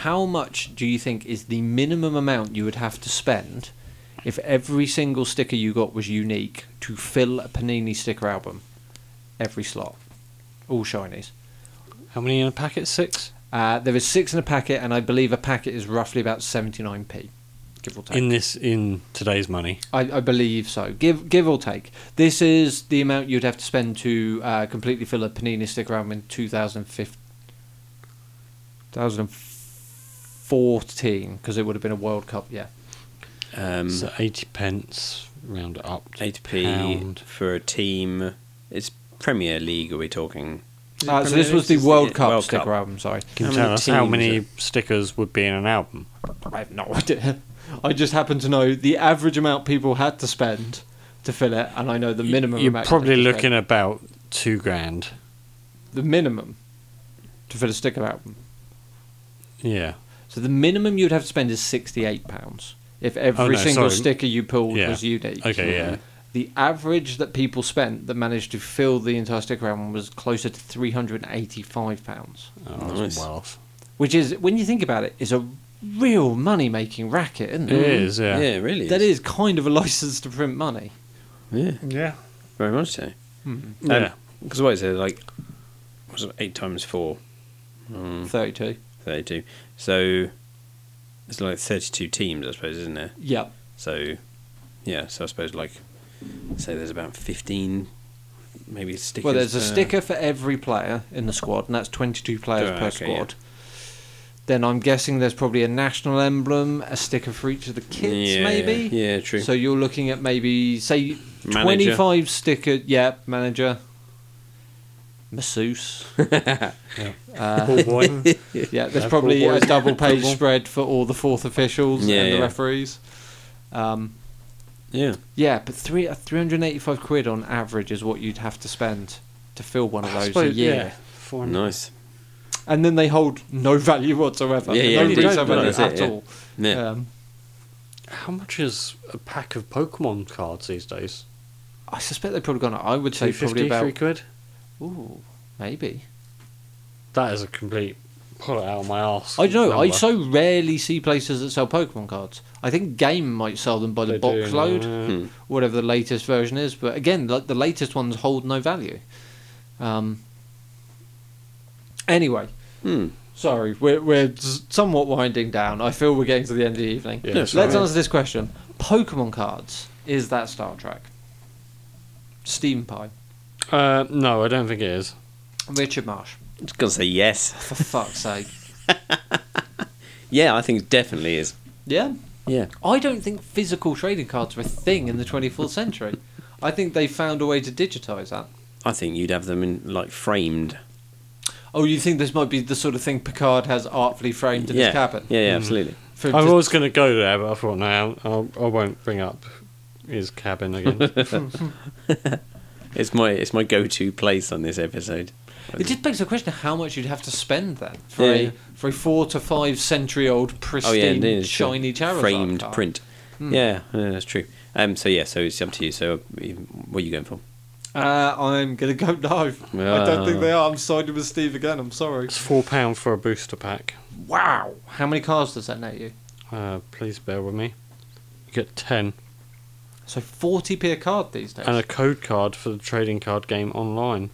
Speaker 1: How much do you think is the minimum amount you would have to spend if every single sticker you got was unique to fill a Panini sticker album? Every slot, all shinies.
Speaker 3: How many in a packet? Six?
Speaker 1: Uh, there is six in a packet, and I believe a packet is roughly about seventy nine p, give or take.
Speaker 3: In this, in today's money.
Speaker 1: I, I believe so. Give give or take. This is the amount you'd have to spend to uh, completely fill a Panini sticker album in 2015, 2014, because it would have been a World Cup. Yeah,
Speaker 2: Um,
Speaker 3: So 80 pence, round it up. to
Speaker 2: 8p
Speaker 3: pound.
Speaker 2: for a team. It's Premier League, are we talking? Is it
Speaker 1: uh, so
Speaker 2: Premier
Speaker 1: this was the
Speaker 2: League?
Speaker 1: World
Speaker 2: Yeah,
Speaker 1: Cup
Speaker 2: World
Speaker 1: sticker
Speaker 2: Cup.
Speaker 1: album. Sorry,
Speaker 3: Can
Speaker 2: How
Speaker 3: you
Speaker 2: many
Speaker 3: tell us how
Speaker 2: teams
Speaker 3: many
Speaker 2: are-
Speaker 3: stickers would be in an album?
Speaker 1: I have no idea. I just happen to know the average amount people had to spend to fill it, and I know the minimum.
Speaker 3: You're
Speaker 1: amount
Speaker 3: probably
Speaker 1: you had to
Speaker 3: looking
Speaker 1: spend.
Speaker 3: about two grand.
Speaker 1: the minimum to fill a sticker album.
Speaker 3: Yeah.
Speaker 1: So the minimum you'd have to spend is sixty-eight pounds. if every
Speaker 3: Oh, no,
Speaker 1: single
Speaker 3: sorry.
Speaker 1: sticker you pulled
Speaker 3: Yeah.
Speaker 1: was unique.
Speaker 3: Okay, yeah.
Speaker 1: The average that people spent that managed to fill the entire sticker album was closer to three hundred and eighty-five pounds,
Speaker 3: Oh,
Speaker 2: Nice.
Speaker 3: that's well off.
Speaker 1: which is, when you think about it, is a real money-making racket, isn't
Speaker 3: It
Speaker 1: it?
Speaker 3: is,
Speaker 2: Yeah,
Speaker 3: yeah.
Speaker 2: it really. is.
Speaker 1: That is kind of a license to print money.
Speaker 2: Yeah,
Speaker 3: Yeah.
Speaker 2: very much so.
Speaker 3: Yeah.
Speaker 2: Because what is it like? What's it, eight times four? Mm,
Speaker 1: Thirty-two.
Speaker 2: Thirty-two. So it's like thirty-two teams, I suppose, isn't there?
Speaker 1: Yep.
Speaker 2: So yeah, so I suppose like say there's about fifteen, maybe stickers.
Speaker 1: Well, there's a
Speaker 2: per-
Speaker 1: sticker for every player in the squad, and that's 22 players
Speaker 2: Oh,
Speaker 1: per
Speaker 2: okay,
Speaker 1: squad. Then I'm guessing there's probably a national emblem, a sticker for each of the kits,
Speaker 2: Yeah,
Speaker 1: maybe.
Speaker 2: Yeah, true.
Speaker 1: So you're looking at maybe say
Speaker 2: Manager.
Speaker 1: 25 sticker. Yeah, manager, masseuse. Uh,
Speaker 3: Ball boy.
Speaker 1: Yeah, there's
Speaker 3: Yeah,
Speaker 1: probably
Speaker 3: football
Speaker 1: a
Speaker 3: is-
Speaker 1: double page
Speaker 3: football.
Speaker 1: spread for all the fourth officials
Speaker 2: Yeah,
Speaker 1: and the
Speaker 2: yeah.
Speaker 1: referees. Um,
Speaker 2: yeah.
Speaker 1: yeah, but three uh, 385 quid on average is what you'd have to spend to fill one of
Speaker 3: I
Speaker 1: those a
Speaker 3: suppose,
Speaker 1: year.
Speaker 3: yeah. Four
Speaker 2: Nice.
Speaker 1: and then they hold no value whatsoever.
Speaker 2: Yeah,
Speaker 1: They
Speaker 2: yeah,
Speaker 1: don't
Speaker 3: you
Speaker 1: do
Speaker 3: don't,
Speaker 1: something
Speaker 3: no,
Speaker 2: that's
Speaker 1: at
Speaker 2: it, yeah.
Speaker 1: all.
Speaker 2: Yeah.
Speaker 1: Um,
Speaker 3: How much is a pack of Pokemon cards these days?
Speaker 1: I suspect they've probably gone. I would say
Speaker 3: Two
Speaker 1: probably
Speaker 3: fifty,
Speaker 1: about
Speaker 3: three quid.
Speaker 1: ooh, maybe.
Speaker 3: That is a complete pull it out of my ass.
Speaker 1: I don't know. I
Speaker 3: number.
Speaker 1: so rarely see places that sell Pokemon cards. I think Game might sell them by the
Speaker 3: They
Speaker 1: box
Speaker 3: do,
Speaker 1: load,
Speaker 3: yeah.
Speaker 2: Hmm.
Speaker 1: whatever the latest version is. But again, like the latest ones hold no value. Um. Anyway,
Speaker 2: Hmm.
Speaker 1: sorry, we're we're s- somewhat winding down. I feel we're getting to the end of the evening.
Speaker 3: Yeah,
Speaker 1: Let's
Speaker 3: it's all right.
Speaker 1: answer this question: Pokemon cards is that Star Trek? Steam pie.
Speaker 3: Uh, no, I don't think it is.
Speaker 1: Richard Marsh.
Speaker 2: I'm just gonna say yes.
Speaker 1: For fuck's sake.
Speaker 2: Yeah, I think it definitely is.
Speaker 1: Yeah.
Speaker 2: Yeah.
Speaker 1: I don't think physical trading cards are a thing in the 24th century. I think they found a way to digitise that.
Speaker 2: I think you'd have them in like framed.
Speaker 1: Oh, you think this might be the sort of thing Picard has artfully framed in
Speaker 2: yeah.
Speaker 1: his cabin?
Speaker 2: Yeah, yeah, absolutely.
Speaker 1: For
Speaker 3: I
Speaker 1: him to-
Speaker 3: was going to go there, but I thought no, I'll, I won't bring up his cabin again.
Speaker 2: It's my it's my go to place on this episode.
Speaker 1: It just begs the question of how much you'd have to spend then for,
Speaker 2: Yeah. Oh,
Speaker 1: a, for a four to five century old pristine
Speaker 2: indeed, it's a
Speaker 1: shiny Charizard Hmm.
Speaker 2: framed
Speaker 1: card.
Speaker 2: print. Yeah, yeah, that's true. Um, so yeah, so it's up to you. So what are you going for?
Speaker 1: Uh, I'm gonna go no. I don't think
Speaker 2: Ah.
Speaker 1: they are. I'm siding with Steve again. I'm sorry.
Speaker 3: it's four pound for a booster pack.
Speaker 1: Wow. How many cards does that net you?
Speaker 3: Uh, please bear with me. You get ten
Speaker 1: So 40p a card these days.
Speaker 3: and a code card for the trading card game online.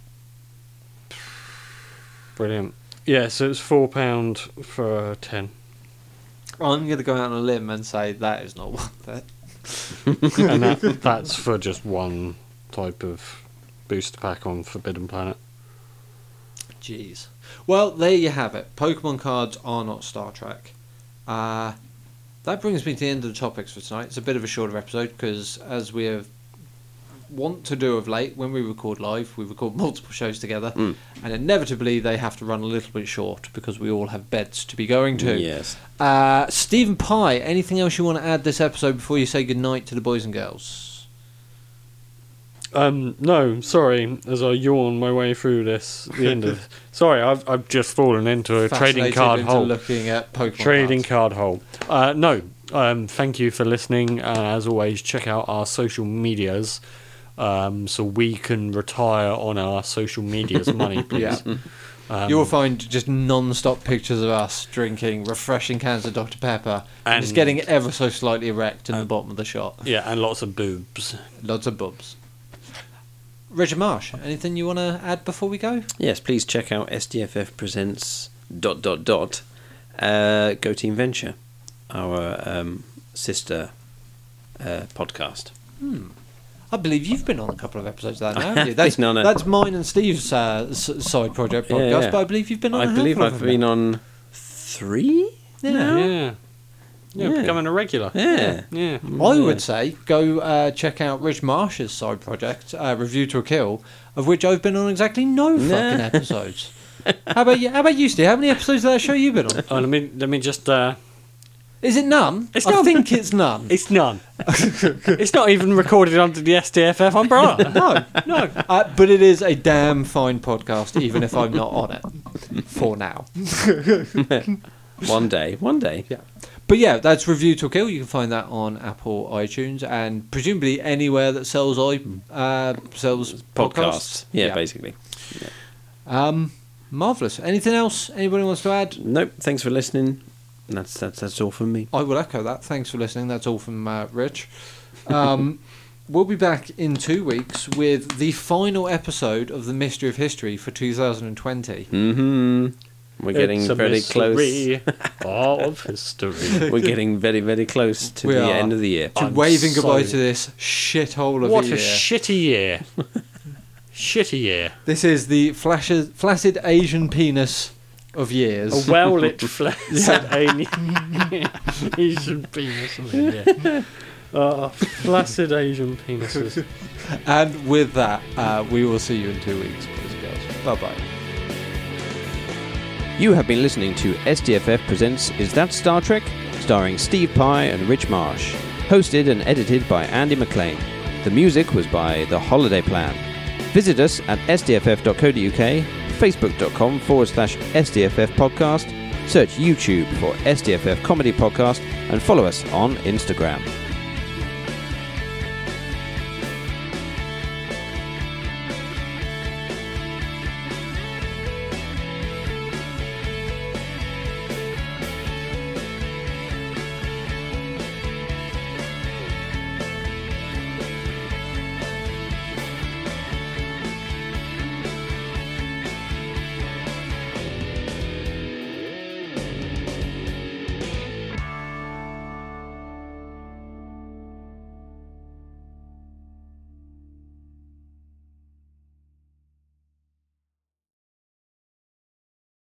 Speaker 3: Brilliant. Yeah, so it's four pound for uh, ten.
Speaker 1: I'm going to go out on a limb and say that is not worth it.
Speaker 3: and that, that's for just one type of booster pack on Forbidden Planet.
Speaker 1: Jeez. Well, there you have it. Pokemon cards are not Star Trek. Uh, that brings me to the end of the topics for tonight. It's a bit of a shorter episode because, as we have want to do of late, when we record live, we record multiple shows together,
Speaker 2: Mm.
Speaker 1: and inevitably they have to run a little bit short because we all have beds to be going to.
Speaker 2: Yes.
Speaker 1: Uh, Stephen Pye, anything else you want to add this episode before you say goodnight to the boys and girls?
Speaker 3: Um, no, sorry, as I yawn my way through this, the end of. Sorry, I've, I've just fallen into a trading
Speaker 1: Fascinated
Speaker 3: card
Speaker 1: into
Speaker 3: hole.
Speaker 1: Looking at Pokemon
Speaker 3: Trading
Speaker 1: cards.
Speaker 3: card hole. Uh, no, um, thank you for listening. And as always, check out our social medias um, so we can retire on our social medias money, please. Um,
Speaker 1: Yeah. you
Speaker 2: Um,
Speaker 1: will find just non-stop pictures of us drinking refreshing cans of Dr Pepper and, just
Speaker 3: And-
Speaker 1: getting ever so slightly erect
Speaker 2: um,
Speaker 1: in the bottom of the shot.
Speaker 3: Yeah, and lots of boobs.
Speaker 1: Lots of bubs. Richard Marsh, anything you want to add before we go?
Speaker 2: Yes, please check out SDFF Presents dot dot dot uh, Go Team Venture, our um, sister uh, podcast.
Speaker 1: I believe you've been on a couple of episodes of that now, haven't you? That's,
Speaker 2: No, no.
Speaker 1: that's mine and Steve's uh, s- side project
Speaker 2: Yeah,
Speaker 1: podcast,
Speaker 2: yeah.
Speaker 1: but I believe you've been on. a
Speaker 2: I believe
Speaker 1: handful of
Speaker 2: I've
Speaker 1: them
Speaker 2: been
Speaker 1: now.
Speaker 2: on three.
Speaker 1: Oh.
Speaker 2: now?
Speaker 3: Yeah. Yeah,
Speaker 2: Yeah.
Speaker 3: becoming a regular.
Speaker 2: Yeah.
Speaker 3: Yeah.
Speaker 1: I would say go uh, check out Rich Marsh's side project, uh, Review to a Kill, of which I've been on exactly no fucking episodes. how about you? How about you, Steve? How many episodes of that show you been on?
Speaker 3: Oh, let me let me just. Uh,
Speaker 1: Is it none?
Speaker 3: It's
Speaker 1: I
Speaker 3: none.
Speaker 1: think it's none.
Speaker 3: it's none. it's not even recorded under the SDFF umbrella.
Speaker 1: no, no. Uh, but it is a damn fine podcast, even if I'm not on it for now.
Speaker 2: One day, one day.
Speaker 1: Yeah. But yeah, that's Review to Kill. You can find that on Apple, iTunes, and presumably anywhere that sells i uh, sells podcasts.
Speaker 2: Podcasts. Yeah, basically.
Speaker 1: Um, marvelous. Anything else anybody wants to add?
Speaker 2: Nope. Thanks for listening. And that's that's that's all from me.
Speaker 1: I will echo that. Thanks for listening. That's all from uh, Rich. Um, we'll be back in two weeks with the final episode of the Mystery of History for 2020.
Speaker 2: hmm We're getting
Speaker 3: It's a
Speaker 2: very close.
Speaker 3: mystery of history.
Speaker 2: We're getting very very close to
Speaker 1: We
Speaker 2: the
Speaker 1: are.
Speaker 2: end of the year.
Speaker 1: To
Speaker 3: I'm
Speaker 1: waving goodbye
Speaker 3: sorry.
Speaker 1: to this shithole of uh,
Speaker 3: what
Speaker 1: a
Speaker 3: a
Speaker 1: year.
Speaker 3: shitty year. shitty year.
Speaker 1: this is the flashes, flaccid Asian penis of years.
Speaker 3: A well lit flaccid alien Asian penis. I mean, yeah. Oh, flaccid Asian penises.
Speaker 1: And with that, uh, we will see you in two weeks, boys and girls. Bye bye.
Speaker 2: You have been listening to SDFF Presents Is That Star Trek? starring Steve Pye and Rich Marsh. Hosted and edited by Andy McLean. The music was by The Holiday Plan. Visit us at sdff.co.uk, facebook.com forward slash SDFF podcast, search YouTube for SDFF Comedy Podcast, and follow us on Instagram.